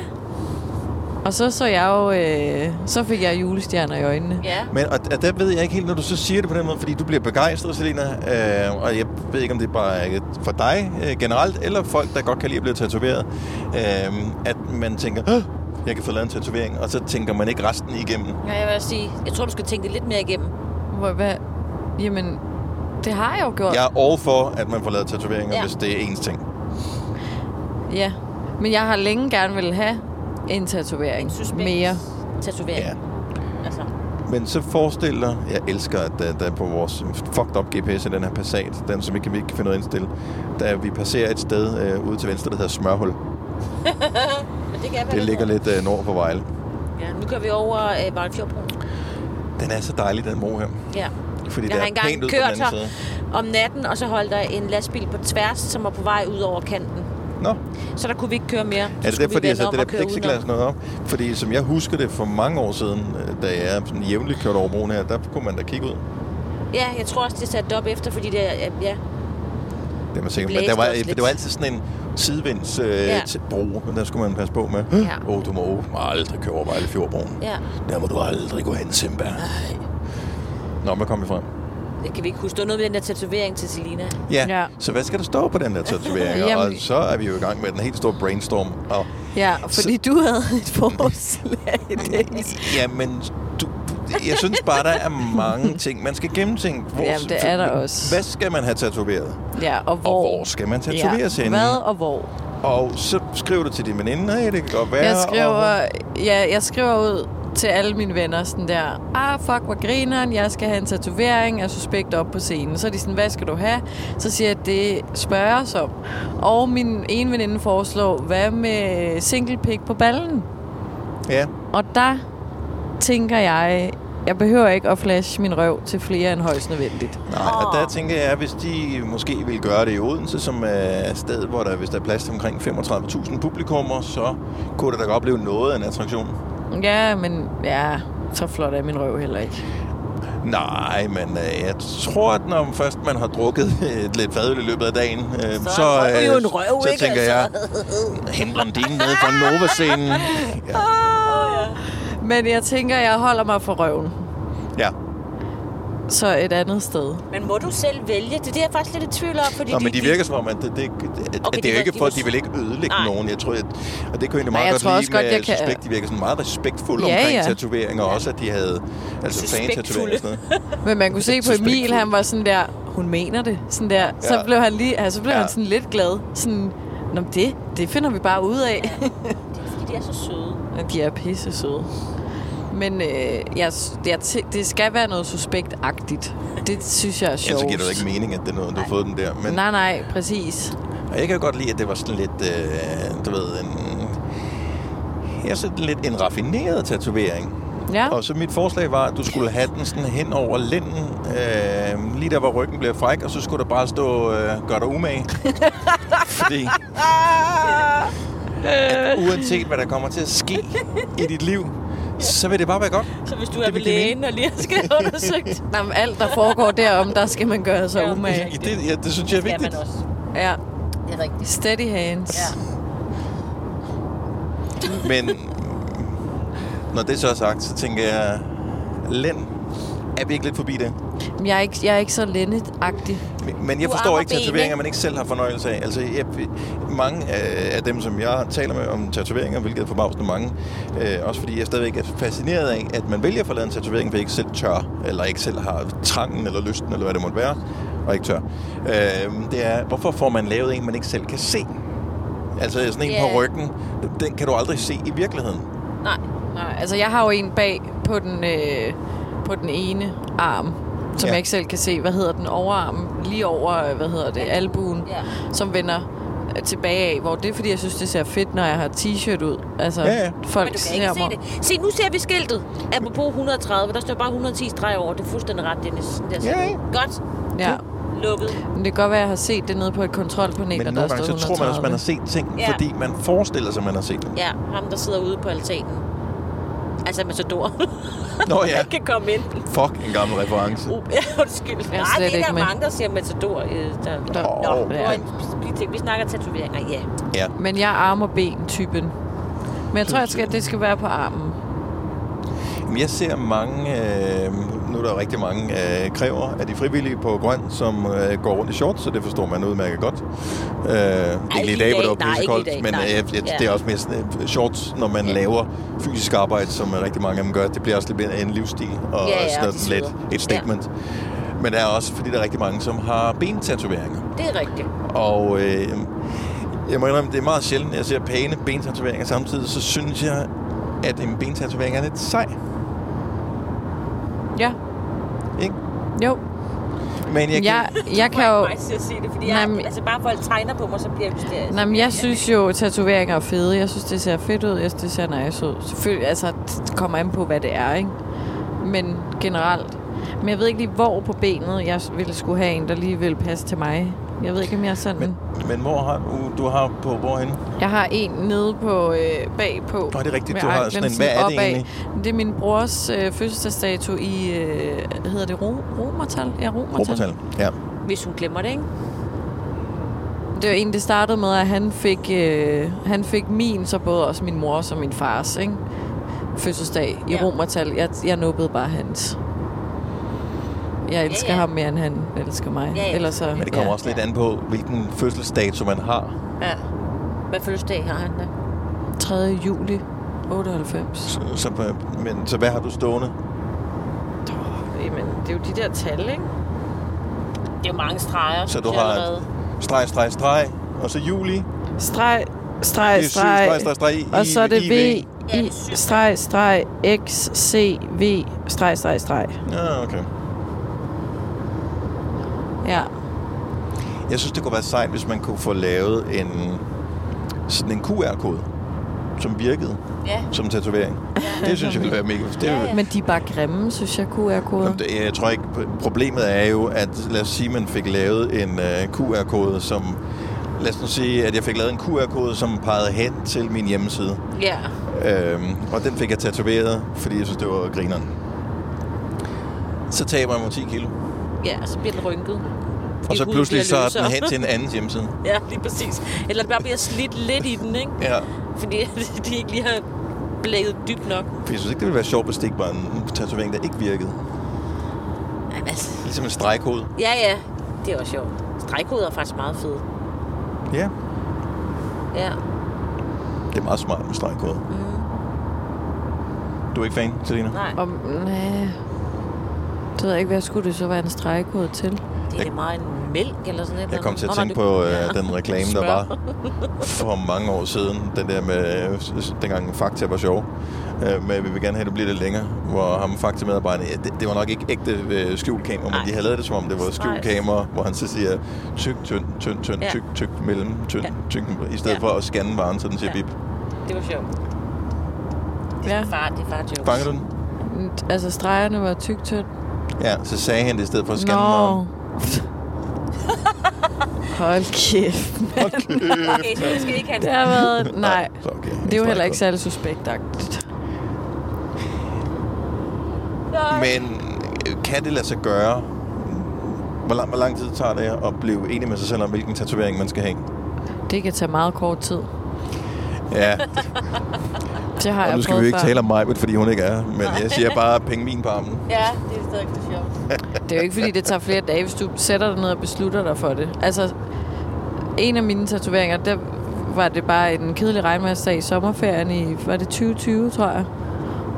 B: Og så så jeg jo, øh, så fik jeg julestjerner i øjnene.
C: Ja.
A: Men og, og der ved jeg ikke helt, når du så siger det på den måde, fordi du bliver begejstret, Selina. Øh, og jeg ved ikke, om det er bare øh, for dig øh, generelt, eller folk, der godt kan lide at blive tatoveret. Øh, at man tænker, "Åh, jeg kan få lavet en tatovering, og så tænker man ikke resten igennem.
C: Ja, jeg vil også sige, jeg tror, du skal tænke det lidt mere igennem.
B: Hvor, hvad? Jamen, det har jeg jo gjort.
A: Jeg er all for, at man får lavet tatoveringer,
B: Ja.
A: ja. hvis det er ens ting.
B: Ja, men jeg har længe gerne vil have en tatovering mere.
C: Tatovering.
A: Ja.
C: Altså.
A: Men så forestil dig, jeg elsker, at der, der på vores øh, fucked up GPS, i den her Passat, den som vi kan, vi ikke kan finde ud af at indstille, da vi passerer et sted øh, ude til venstre, der hedder Smørhul.
C: Men det kan jeg
A: Det ligger lidt øh, nord for Vejle.
C: Ja, nu kører vi over øh, Vejlefjordbroen.
A: Den er så dejlig, den bro her.
C: Ja.
A: Fordi det
C: jeg har
A: er
C: engang
A: pænt ud på den
C: kørt
A: anden
C: her om natten, og så holdt der en lastbil på tværs, som var på vej ud over kanten.
A: Nå.
C: Så der kunne vi ikke køre mere. Så
A: Er det
C: skulle
A: derfor, de
C: vi
A: har
C: vende
A: sat
C: om
A: det
C: og
A: der
C: køre
A: plexiglas
C: udenom.
A: noget op? Fordi som jeg husker det for mange år siden, øh, da jeg sådan jævnligt kørte over broen her, der kunne man da kigge ud.
C: Ja, jeg tror også, det er sat det op efter, fordi det er, øh, ja,
A: Det er man sikker. på. Men
C: blæste
A: der var,
C: også lidt.
A: det var altid sådan en sidevinds øh,
C: Ja.
A: ja. bro, der skulle man passe på med. Åh,
C: Ja.
A: oh, du må aldrig køre over Vejlefjordbroen.
C: ja.
A: Der må du aldrig gå hen, Simba. Nå, hvad kom vi frem?
C: Det kan vi ikke huske. Der var noget med den der tatovering til Selina.
A: Ja. ja, så hvad skal der stå på den der
B: *laughs*
A: tatovering? og
C: Jamen-
A: så er vi jo i gang med den helt store brainstorm. Og,
B: *laughs* Ja, fordi så... du havde et forslag, Dennis.
A: ja, men du, jeg synes bare, der er
B: *laughs*
A: mange ting, man skal gennemtænke.
B: Jamen, det er der også.
A: Hvad skal man have tatoveret?
B: Ja, og hvor?
A: Og hvor skal man tatoveres
B: ja.
A: henne?
B: Hvad og hvor?
A: Og så skriver du til din veninde, hey, det kan godt være.
B: Jeg skriver,
A: Og,
B: ja, jeg skriver ud til alle mine venner sådan der, ah, fuck, hvor grineren, jeg skal have en tatovering af suspekt op på scenen. Så er de sådan, hvad skal du have? Så siger jeg, det spørger os om. Og min ene veninde foreslår, hvad med single pik på ballen?
A: ja.
B: Og der tænker jeg, jeg behøver ikke at flashe min røv til flere end højst nødvendigt.
A: Nej, og der tænker jeg, hvis de måske vil gøre det i Odense, som er et sted, hvor der, hvis der er plads til omkring 35.000 publikummer, så kunne der da godt blive noget af en attraktion.
B: Ja, men ja, så flot er min røv heller ikke.
A: Nej, men øh, jeg tror, at når først man har drukket et lidt fadøl i løbet af dagen, øh, så, så,
C: er det jo en røv,
A: så
C: ikke,
A: tænker jeg,
C: altså?
A: hen blondinen nede fra Nova-scenen.
C: *laughs*
A: Ja.
B: Men jeg tænker, jeg holder mig for røven.
A: ja.
B: Så et andet sted.
C: Men må du selv vælge? Det er det, jeg er faktisk lidt i tvivl om, fordi
A: Nå, men
C: de,
A: de virker som om, at det, det, det, okay, det er
C: de
A: jo
C: var-
A: ikke
C: de
A: for,
C: var
A: at de vil ikke ødelægge
C: Nej.
A: Nej. nogen. Jeg tror, at, og det kunne jeg egentlig
B: Nej,
A: meget
B: jeg
A: godt
B: tror
A: lide
B: også godt,
A: med
B: jeg kan-
A: Suspekt. De virker sådan meget respektfulde
B: Ja,
A: omkring
B: ja.
A: tatoveringer, og også at de havde altså fan-tatoveringer og sådan noget.
B: Men man kunne se på Emil, han var sådan der, hun mener det. Sådan der. Ja. Så
A: Ja.
B: blev han lige, altså så blev ja.
A: Ja.
B: han sådan lidt glad. Sådan, Nå, men det, det finder vi bare ud af. *laughs*
C: de er så søde.
B: Ja, de er pisse søde. Men øh, jeg, jeg, tæ- det skal være noget suspektagtigt. Det synes jeg er
A: Ellers
B: sjovt.
A: så giver det jo ikke mening, at det er noget, du har fået den der. Men,
B: Nej, nej, præcis.
A: Og jeg kan godt lide, at det var sådan lidt, øh, du ved, en, ja, sådan lidt en raffineret tatovering.
B: Ja. *laughs*
A: Og så mit forslag var, at du skulle have den sådan hen over lænden, øh, lige der, hvor ryggen bliver fræk, og så skulle der bare stå, øh, gør dig umage. Fordi at uanset hvad der kommer til at ske i dit liv, så vil det bare være godt.
C: Så hvis du
A: Det
C: er ved
A: vil give
C: lægen og lige skal have undersøgt.
B: Nå, men alt, der foregår derom, der skal man gøre sig umage.
A: I det, ja, det synes jeg er
C: Skal man
A: vigtigt.
C: også.
B: Ja.
C: Det er rigtigt.
B: Steady hands. Ja.
A: Men når det så er sagt, så tænker jeg, lænd, er vi ikke lidt forbi det?
B: Men jeg er ikke, jeg er ikke så lændet-agtig.
A: Men jeg
B: Du
A: forstår
B: ammer
A: ikke
B: ben,
A: tatoveringer,
B: ikke?
A: man ikke selv har fornøjelse af. Altså, jeg, mange øh, af dem, som jeg taler med om tatoveringer, hvilket er forbavsende mange, øh, også fordi jeg stadigvæk er fascineret af, at man vælger at få lavet en tatovering, fordi jeg ikke selv tør, eller ikke selv har trangen eller lysten, eller hvad det måtte være, og ikke tør. Øh, det er, hvorfor får man lavet en, man ikke selv kan se? Altså sådan en yeah.
B: Ja.
A: på ryggen, den kan du aldrig se i virkeligheden.
B: Nej, nej. Altså, jeg har jo en bag på den, øh, på den ene arm, som
A: Ja.
B: jeg ikke selv kan se. Hvad hedder den? Overarmen. Lige over, øh, hvad hedder det? Albuen.
C: Ja.
B: Som vender øh, tilbage af, hvor det er, fordi jeg synes, det ser fedt, når jeg har t-shirt ud. Altså,
A: Ja, ja.
B: folk
C: Men du kan
B: ser mig.
C: ikke se det. Se, nu ser vi skiltet. Apropos 130, der står bare 110 streger over. Det er fuldstændig ret, Dennis. Det er
B: Ja,
C: sådan.
B: ikke?
C: Godt.
B: Ja.
C: Lukket.
B: Men det kan godt være, at jeg har set det nede på et kontrolpanel,
A: Men
B: og
A: nogle
B: der
A: gange,
B: står
A: så tror man også,
B: 130.
A: man har set ting,
C: Ja.
A: ja. fordi man forestiller sig, man har set dem.
C: Ja, ham der sidder ude på altanen. Altså
A: *laughs*
C: Matador.
A: Nå
B: *laughs*
A: ja.
C: Han kan komme ind.
A: Fuck, en gammel reference.
C: Uh, ja, Undskyld. Nej,
B: slet
C: det er
B: ikke
C: der
B: med.
C: mange, der siger Matador. øh, Der, der.
A: Åh,
C: Nå,
A: ja.
C: ja. vi snakker tatoveringer, ja.
A: Ja.
B: Men jeg er arm- og ben-typen. Men jeg tror, at det skal, det skal være på armen.
A: Jamen, Jeg ser mange, øh, nu er der jo rigtig mange øh, kræver af de frivillige på Grøn, som øh, går rundt i shorts, så det forstår man udmærket godt. Øh, ikke lige i
E: i
A: dag, hvor
E: dag.
A: det var
E: Nej, ikke i
A: pissekoldt,
E: dag.
A: men
E: Nej.
A: øh, jeg, jeg,
E: Ja.
A: det er også mest øh, shorts, når man laver fysisk arbejde, som øh, rigtig mange af dem gør. Det bliver også lidt mere en livsstil, og
C: Ja, ja,
A: sådan
C: og de
A: noget, lidt
C: sveder.
A: et statement. Men der er også, fordi der er rigtig mange, som har bentatoveringer.
C: Det er rigtigt.
A: Og øh, jeg må indrømme, det er meget sjældent, at jeg ser pæne bentatoveringer samtidig, så synes jeg, at en bentatovering er lidt sej.
B: Ja.
A: Ikke?
B: Jo.
A: Men jeg,
B: Jeg,
A: kan...
B: jeg kan jo...
C: Jeg skal sige det, fordi jeg,
B: Jamen-
C: altså bare folk tegner på mig, så bliver jeg hysterisk.
B: Nej, men jeg synes jo, at tatoveringer er fede. Jeg synes, det ser fedt ud. Jeg synes, det ser nice ud. Selvfølgelig, altså, det kommer an på, hvad det er, ikke? Men generelt. Men jeg ved ikke lige, hvor på benet jeg ville skulle have en, der lige ville passe til mig. Jeg ved ikke, om jeg er sådan. Men...
A: Men hvor har du, du har på hvorhenne?
B: Jeg har en nede på øh, bagpå.
A: Nå, det er rigtigt,
B: med
A: du har sådan
B: anklen
A: en. Hvad er det
B: opad.
A: egentlig?
B: Det er min brors øh, fødselsdagsdato i, øh, hedder det ro, romertal? Ja, romertal.
A: Romertal. Ja.
C: Hvis hun glemmer det, ikke?
B: Det var en, det startede med, at han fik, øh, han fik min, så både også min mor og min fars, ikke? fødselsdag i
C: Ja.
B: romertal. Jeg, jeg nubbede bare hans. Jeg elsker
C: ja.
B: ham mere, end han elsker mig.
C: Ja, ja.
B: Ellers så,
A: Men det kommer
B: ja.
A: også lidt an på, hvilken fødselsdato man har.
C: Ja. Hvad fødselsdag har han da?
B: 3. juli 98.
A: Så, så, men, så hvad har du stående?
B: Jamen, det er jo de der tal, ikke?
C: Det er jo mange streger.
A: Så du har et streg, streg, streg, og så juli.
B: Streg, streg,
A: Det er syv streg,
B: streg,
A: streg, streg, i,
B: og så er det
A: i,
B: V,
A: V.
B: I, streg, streg, X, C, V, streg, streg, streg.
A: Ja, okay.
B: Ja.
A: Jeg synes, det kunne være sejt, hvis man kunne få lavet en, sådan en QR-kode, som virkede
B: Ja.
A: som tatovering. Det synes jeg ville være mega det, ja,
B: Men de er bare grimme, synes jeg, QR-koder.
A: Det- Jeg tror ikke, problemet er jo, at lad os sige, man fik lavet en øh, QR-kode, som... Lad os nu sige, at jeg fik lavet en QR-kode, som pegede hen til min hjemmeside.
C: Ja.
A: Øhm, og den fik jeg tatoveret, fordi jeg synes, det var grineren. Så taber jeg mig 10 kilo.
C: Ja, så bliver den rynket.
A: Og så
C: Huden
A: pludselig så
C: bliver
A: er den
C: løsere.
A: hen til en andens hjemmeside.
C: *laughs* ja, lige præcis. Eller det bare bliver slidt lidt i den, ikke?
A: Ja.
C: Fordi *laughs* de ikke lige har blækket dybt nok.
A: For jeg synes ikke, det ville være sjovt, hvis det ikke var en tatovering, der ikke virkede.
C: Jamen, altså.
A: Ligesom en stregkode.
C: Ja, ja. Det er også sjovt. Stregkoder er faktisk meget fede.
A: Ja.
C: Ja.
A: Det er meget smart med stregkode. Du er ikke fan, Selina?
C: Nej.
B: Om, nej. Det ved jeg ikke, hvad skulle det så være en stregkode til?
C: Det er det meget en mælk eller sådan noget.
A: Jeg kom til at
C: Nå, nej,
A: tænke
C: det-
A: på
C: Ja.
A: øh, den reklame, der
C: Smør.
A: var for mange år siden. Den der med, øh, s- s- dengang Fakta var sjov. Øh, men vi vil gerne have, at det bliver lidt længere. Hvor ham Fakta medarbejderen, ja, det, det, var nok ikke ægte øh, skjulkamera, men de havde lavet det som om, det var skjulkamera, hvor han så siger tyk, tynd, tynd, tynd,
C: Ja.
A: tyk, tyk, mellem, tynd,
C: Ja.
A: tyk, i stedet for at scanne varen, så den siger bip.
C: Det var sjovt. Det er far, det er far jokes.
A: Fanger du den?
B: Altså, stregerne var tyk tynd.
A: Ja, så sagde han det i stedet for at scanne varen.
B: Nå. *laughs* Hold kæft, mand.
C: Okay, så vi skal ikke have en
B: Det har været... *laughs* Nej.
A: Så okay.
B: Det er jo heller ikke særlig suspektagtigt.
A: Men øh, kan det lade sig gøre? Hvor lang, hvor lang tid tager det at blive enig med sig selv om, hvilken tatovering man skal have?
B: Det kan tage meget kort tid.
A: Ja,
B: Det har
A: og
B: jeg
A: nu skal vi
B: prøvet
A: jo ikke
B: før.
A: tale om mig, fordi hun ikke er her, Men jeg siger bare, penge min på armen.
C: Ja, det er stadig det sjovt.
B: Det er jo ikke, fordi det tager flere dage, hvis du sætter dig ned og beslutter dig for det. Altså, en af mine tatoveringer, der var det bare en kedelig regnvejrsdag i sommerferien i, var det 2020, tror jeg.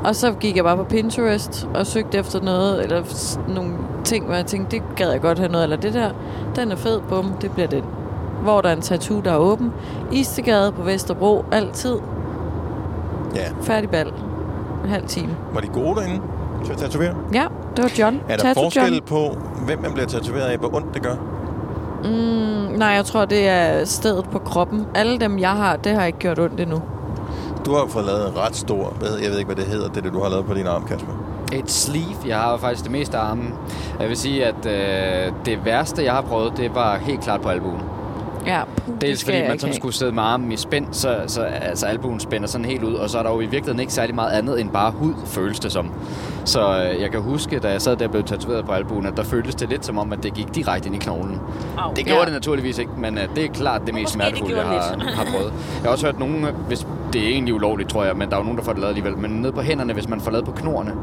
B: Og så gik jeg bare på Pinterest og søgte efter noget, eller s- nogle ting, hvor jeg tænkte, det gad jeg godt have noget, eller det der, den er fed, bum, det bliver den. Hvor der er en tattoo, der er åben. Istegade på Vesterbro, altid.
A: Ja.
B: Færdig bal. En halv time.
A: Var de gode derinde til at tatovere?
B: Ja, det var John.
A: Er der
B: Tattoo
A: forskel
B: John.
A: på, hvem man bliver tatoveret af, hvor ondt det gør?
B: Mm, nej, jeg tror, det er stedet på kroppen. Alle dem, jeg har, det har ikke gjort ondt endnu.
A: Du har jo fået lavet en ret stor, hvad hedder- jeg ved ikke, hvad det hedder, det, det du har lavet på din arm, Kasper.
D: Et sleeve. Jeg har jo faktisk det meste af armen. Jeg vil sige, at øh, det værste, jeg har prøvet, det var helt klart på albuen.
B: Ja,
D: Dels
B: skal
D: fordi
B: jeg
D: man
B: ikke
D: sådan
B: have.
D: skulle sidde med armen i spænd, så, så altså, albuen spænder sådan helt ud, og så er der jo i virkeligheden ikke særlig meget andet end bare hud, føles det som. Så øh, jeg kan huske, da jeg sad der og blev tatoveret på albuen, at der føltes det lidt som om, at det gik direkte ind i knoglen.
C: Au.
D: Det gjorde
C: Ja.
D: det naturligvis ikke, men øh, det er klart det mest
C: Måske det
D: smertefulde, jeg
C: gjorde
D: har,
C: lidt.
D: har prøvet. Jeg har også hørt nogen, øh, hvis det er egentlig ulovligt, tror jeg, men der er jo nogen, der får det lavet alligevel. Men nede på hænderne, hvis man får lavet på knorene,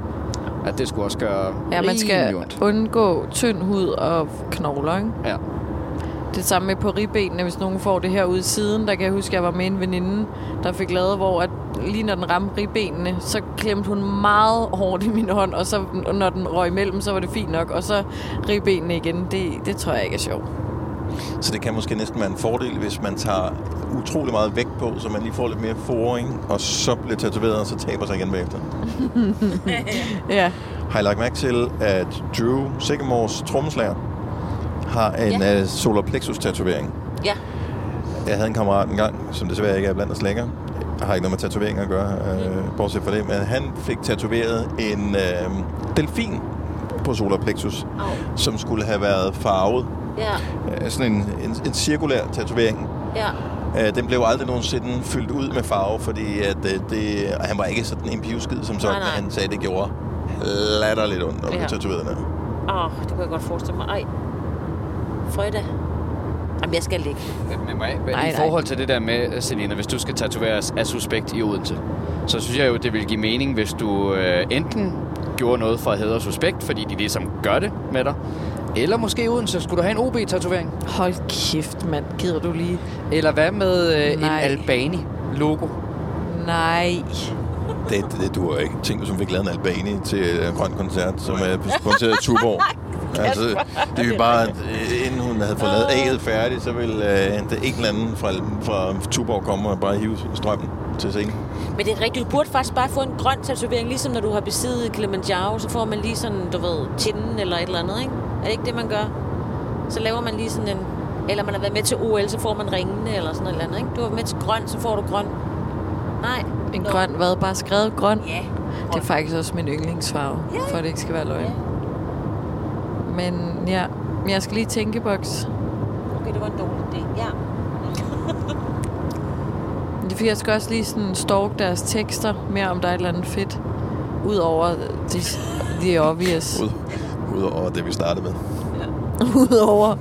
D: at det skulle også gøre
B: Ja, man skal
D: rimelig ondt.
B: undgå tynd hud og knogler, ikke?
D: Ja.
B: Det samme med på ribbenene, hvis nogen får det herude i siden. Der kan jeg huske, at jeg var med en veninde, der fik lavet, hvor at lige når den ramte ribbenene, så klemte hun meget hårdt i min hånd, og så når den røg imellem, så var det fint nok, og så ribbenene igen. Det, det tror jeg ikke er sjovt.
A: Så det kan måske næsten være en fordel, hvis man tager utrolig meget vægt på, så man lige får lidt mere foring, og så bliver tatoveret, og så taber sig igen bagefter.
B: ja.
A: Har I lagt mærke til, at Drew Sigamores trommeslager har en
C: Ja.
A: ja. uh, solar plexus tatovering?
C: Ja.
A: Jeg havde en kammerat engang, som desværre ikke er blandt os længere. Jeg har ikke noget med tatoveringer at gøre,
C: Mm.
A: øh, bortset fra det. Men han fik tatoveret en øh, delfin på solar plexus, som skulle have været farvet.
C: Ja.
A: Øh, sådan en, en, en cirkulær tatovering.
C: Ja.
A: Øh, den blev aldrig nogensinde fyldt ud med farve, fordi at, øh, det, og han var ikke sådan en pivskid som sådan.
C: Nej, nej.
A: Han sagde, det gjorde latterligt ondt at blive
C: Ja.
A: tatoveret der.
C: Åh, oh, det kunne jeg godt forestille mig. Ej. Frøjda. Jamen, jeg skal ligge.
D: Øh, Men må jeg,
C: Nej,
D: nej, I
C: nej.
D: forhold til det der med, øh, Selina, hvis du skal tatoveres af suspekt i Odense, så synes jeg jo, det ville give mening, hvis du øh, enten gjorde noget for at hedre suspekt, fordi de ligesom gør det med dig, eller måske i Odense skulle du have en OB-tatovering.
B: Hold kæft, mand. Gider du lige?
D: Eller hvad med øh, en
B: Nej.
D: Albani-logo?
B: Nej.
A: Det, det, det duer ikke. Tænk, hvis hun fik lavet en albani til en grøn koncert, som er sponsoreret af Tuborg. Altså, det er jo bare, at øh, inden hun havde fået lavet A'et færdigt, så ville øh, det en eller anden fra, fra Tuborg komme og bare hive strømmen til scenen.
C: Men det er rigtigt, du burde faktisk bare få en grøn tatovering, ligesom når du har besiddet Kilimanjaro, så får man lige sådan, du ved, tinden eller et eller andet, ikke? Er det ikke det, man gør? Så laver man lige sådan en... Eller man har været med til OL, så får man ringene eller sådan et eller andet, ikke? Du har været med til grøn, så får du grøn. Nej.
B: En grøn hvad? Bare skrevet grøn? Ja. Det er faktisk også min yndlingsfarve, for at det ikke skal være løgn. Men ja, men jeg skal lige tænke boks.
C: Okay, det var en dårlig idé. Ja.
B: Men Det er fordi, jeg skal også lige sådan stalk deres tekster mere, om der er et eller andet fedt. Udover de, de obvious.
A: Ud, udover det, vi startede med.
B: Udover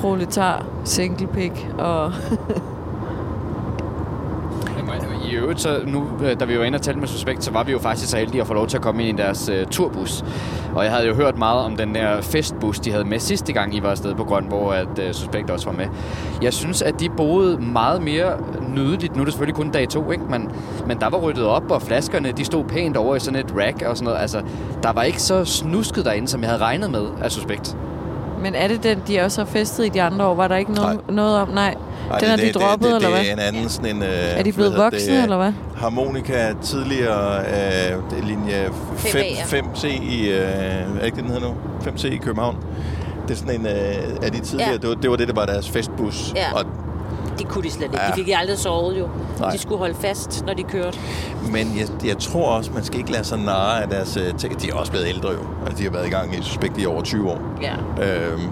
B: proletar, single pick og...
D: I øvrigt, så nu, øh, da vi var inde og talte med Suspekt, så var vi jo faktisk så heldige at få lov til at komme ind i deres øh, turbus. Og jeg havde jo hørt meget om den der festbus, de havde med sidste gang, I var afsted på Grøn, hvor at, øh, Suspekt også var med. Jeg synes, at de boede meget mere nydeligt. Nu er det selvfølgelig kun dag to, ikke? Men, men der var ryddet op, og flaskerne de stod pænt over i sådan et rack og sådan noget. Altså, der var ikke så snusket derinde, som jeg havde regnet med af Suspekt.
B: Men er det den, de også har festet i de andre år? Var der ikke noget, noget om? Nej.
A: Ej,
B: den har de droppet,
A: det, det,
B: eller hvad?
A: Det er en anden sådan en... Øh,
B: Er de blevet voksne, eller hvad?
A: Harmonika tidligere øh, det er linje 5,
B: 5A'er.
A: 5C i... Øh, er ikke det, den hedder nu? 5C i København. Det er sådan en... Øh, er de tidligere...
C: Ja.
A: Ja. Det, var, det var det, der var deres festbus.
C: Ja.
A: Og,
C: Det kunne de slet ikke.
A: Ja.
C: De fik aldrig sovet jo.
A: Nej.
C: De skulle holde fast, når de kørte.
A: men jeg, jeg tror også, man skal ikke lade sig narre af deres... Øh, ting. de er også blevet ældre jo. Altså, de har været i gang i suspekt i over 20 år.
C: Ja.
A: Øhm,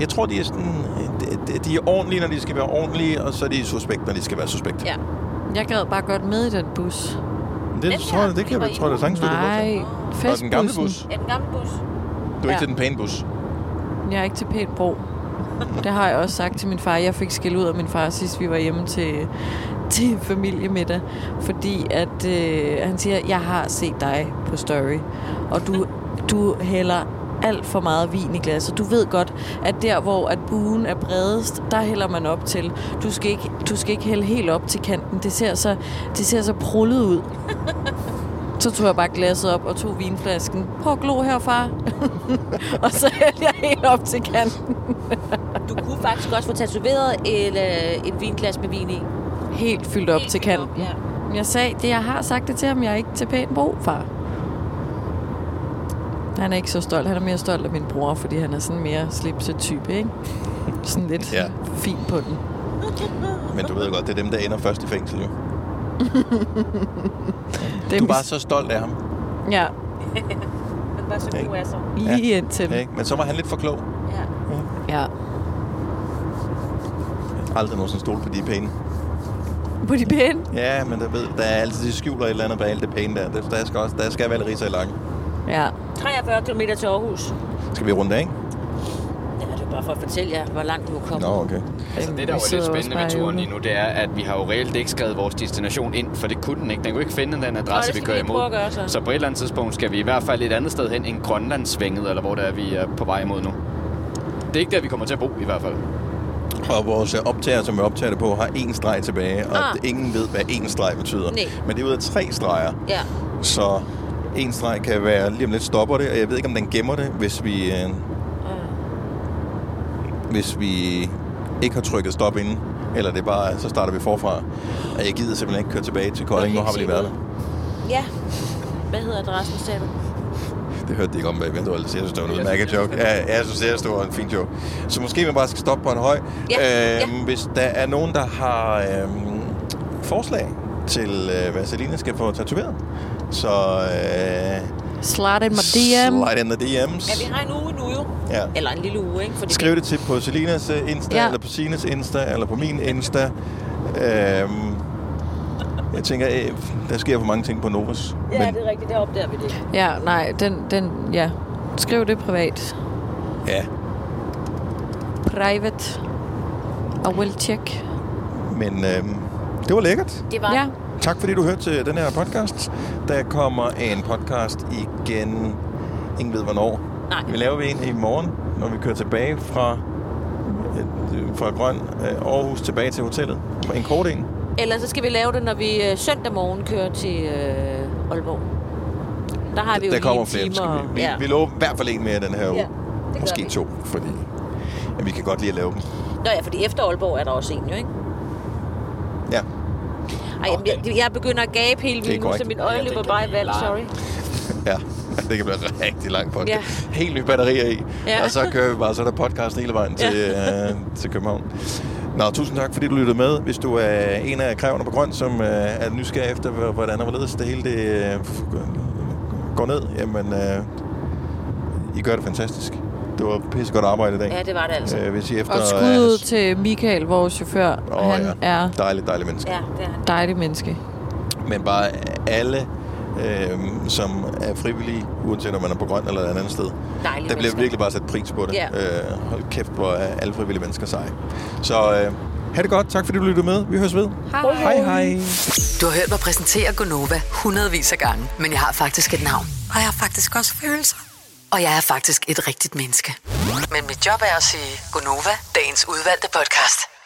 A: jeg tror, de er sådan... De, de- de er ordentlige, når de skal være ordentlige, og så er de suspekt, når de skal være suspekt.
C: Ja.
B: Jeg gad bare godt med i den bus.
A: Det tror jeg, det kan jeg, tror jeg, sagtens, du kan gå til.
B: Nej,
A: Og den gamle
B: festbussen.
A: bus.
C: Ja, den gamle bus.
A: Du er ikke
B: Ja.
A: til den pæne bus.
B: Jeg er ikke til pænt bro. Det har jeg også sagt til min far. Jeg fik skæld ud af min far, sidst vi var hjemme til, til familiemiddag. Fordi at, øh, han siger, jeg har set dig på story. Og du, du hælder alt for meget vin i glasset. Du ved godt, at der, hvor at buen er bredest, der hælder man op til. Du skal ikke, du skal ikke hælde helt op til kanten. Det ser så, det ser så prullet ud. Så tog jeg bare glasset op og tog vinflasken. Prøv at glo her, far. *laughs* og så hældte jeg helt op til kanten.
C: Du kunne faktisk også få tatoveret et, øh, et vinglas med vin i.
B: Helt fyldt op til kanten. Ja. Jeg sagde det, jeg har sagt det til ham. Jeg er ikke til pæn brug, far. Han er ikke så stolt. Han er mere stolt af min bror, fordi han er sådan mere slipset type, ikke? Sådan lidt ja.
A: Ja.
B: fin på den.
A: Men du ved godt, det er dem, der ender først i fængsel, jo.
B: Dem,
A: Du var så stolt af ham.
B: Ja,
C: Den var så god af sig.
B: lige ja. indtil.
A: Ikke? Men så var han lidt for klog.
B: Ja.
A: Aldrig nogensinde stole på de pæne.
B: På de pæne?
A: Ja, men der, ved, der er altid de skjuler et eller andet bag alt det pæne der. Der, der skal, også, der skal være lidt riser i lange.
B: Ja.
C: 43 km til Aarhus.
A: Skal vi runde af, ikke?
C: Ja, det er bare for at fortælle jer, hvor langt du er kommet.
A: Nå, okay.
D: Altså, det, der
B: vi
D: jo er
B: sidder
D: lidt
B: også
D: spændende
B: bare
D: ved
B: i
D: turen
B: uden.
D: lige nu, det er, at vi har jo reelt ikke skrevet vores destination ind, for det kunne den ikke. Den kunne ikke finde den adresse,
C: det
D: vi
C: skal
D: kører
C: vi lige prøve at gøre
D: imod.
C: så.
D: Så på et eller andet tidspunkt skal vi i hvert fald et andet sted hen end Grønlandsvænget, eller hvor det er, vi er på vej imod nu. Det er ikke der, vi kommer til at bo i hvert fald.
A: Og vores øh, optager, som vi optager det på, har én streg tilbage, og
C: Ah.
A: ah. ingen ved, hvad én streg betyder.
C: Nej.
A: Men det er ud af tre streger.
C: Ja.
A: Så en streg kan være, lige om lidt stopper det, og jeg ved ikke, om den gemmer det, hvis vi... Øh, hvis vi ikke har trykket stop inden, eller det er bare, så starter vi forfra. Og jeg gider simpelthen ikke køre tilbage til Kolding, nu har vi lige været der.
C: Ja. Hvad hedder adressen, sagde du?
A: Det hørte de ikke om, hvad jeg ellers jeg synes, det var en udmærket joke. Ja, jeg synes, det var en fin joke. Så måske man bare skal stoppe på en høj.
C: Ja,
A: øhm, Hvis der er nogen, der har øhm, forslag til, øh, hvad Selina skal få tatoveret, så øh,
B: Slide in my DM.
A: slide in the DM's.
C: Ja, vi har en uge nu jo.
A: Ja.
C: Eller en lille uge, ikke? Fordi
A: Skriv det til på Selinas øh, Insta,
C: Ja.
A: ja. eller på Sines Insta, eller på min Insta. øhm, jeg tænker, øh, der sker for mange ting på Novus.
C: Ja, det er rigtigt. Der opdager vi det.
B: Ja, nej, den, den, ja. Skriv det privat.
A: Ja,
B: Private. I will check.
A: men øhm, det var lækkert.
C: Det var...
B: Ja.
A: Tak fordi du hørte til den her podcast. Der kommer en podcast igen. Ingen ved hvornår.
C: Nej.
A: Vi laver vi en i morgen, når vi kører tilbage fra, øh, fra Grøn øh, Aarhus tilbage til hotellet. En kort en.
C: Eller så skal vi lave det, når vi øh, søndag morgen kører til øh, Aalborg. Der har vi jo
A: der
C: lige
A: kommer
C: en
A: flere.
C: time
A: Skal
C: og-
A: Vi, vi,
C: ja.
A: vi lover i hvert fald en mere den her uge.
C: Ja, det gør
A: Måske
C: vi.
A: to, fordi ja, vi kan godt lide at lave dem.
C: Nå ja, fordi efter Aalborg er der også en, jo ikke?
A: Ja.
C: Ej, jeg, jeg, jeg begynder at gabe helt
A: Det er
C: vildt nu, så
A: korrekt.
C: mit øje løber bare i vand, sorry.
A: Ja, *laughs* det kan blive rigtig lang podcast.
C: Ja.
A: Ja. Helt nye batterier i,
C: Ja.
A: ja. og så kører vi bare, så er der podcast hele vejen til,
C: Ja.
A: ja. øh, til København. Nå, tusind tak, fordi du lyttede med. Hvis du er en af kræverne på grøn, som øh, er nysgerrig efter, hvor- hvordan og hvorledes det hele det, øh, går ned, jamen, øh, I gør det fantastisk. Det var pissegodt arbejde i dag.
C: Ja, det var det altså.
A: Øh, hvis I efter,
B: Og skud ud til Michael, vores chauffør.
A: altså- Åh,
B: han
A: ja.
B: er
A: Dejligt, dejligt menneske.
C: Ja, det er han.
B: dejlig menneske.
A: men bare alle, øh, som er frivillige, uanset om man er på grøn eller et andet sted.
C: Dejlige
A: der bliver
C: mennesker.
A: virkelig bare sat pris på det.
C: Ja.
A: Øh, hold kæft, hvor er alle frivillige mennesker seje. Så øh, ha' det godt. Tak fordi du lyttede med. Vi høres ved.
M: Hej.
A: hej. hej.
M: Du har hørt mig præsentere Gonova hundredvis af gange, men jeg har faktisk et navn.
K: Og jeg har faktisk også følelser.
M: Og jeg er faktisk et rigtigt menneske. Men mit job er at sige Gonova, dagens udvalgte podcast.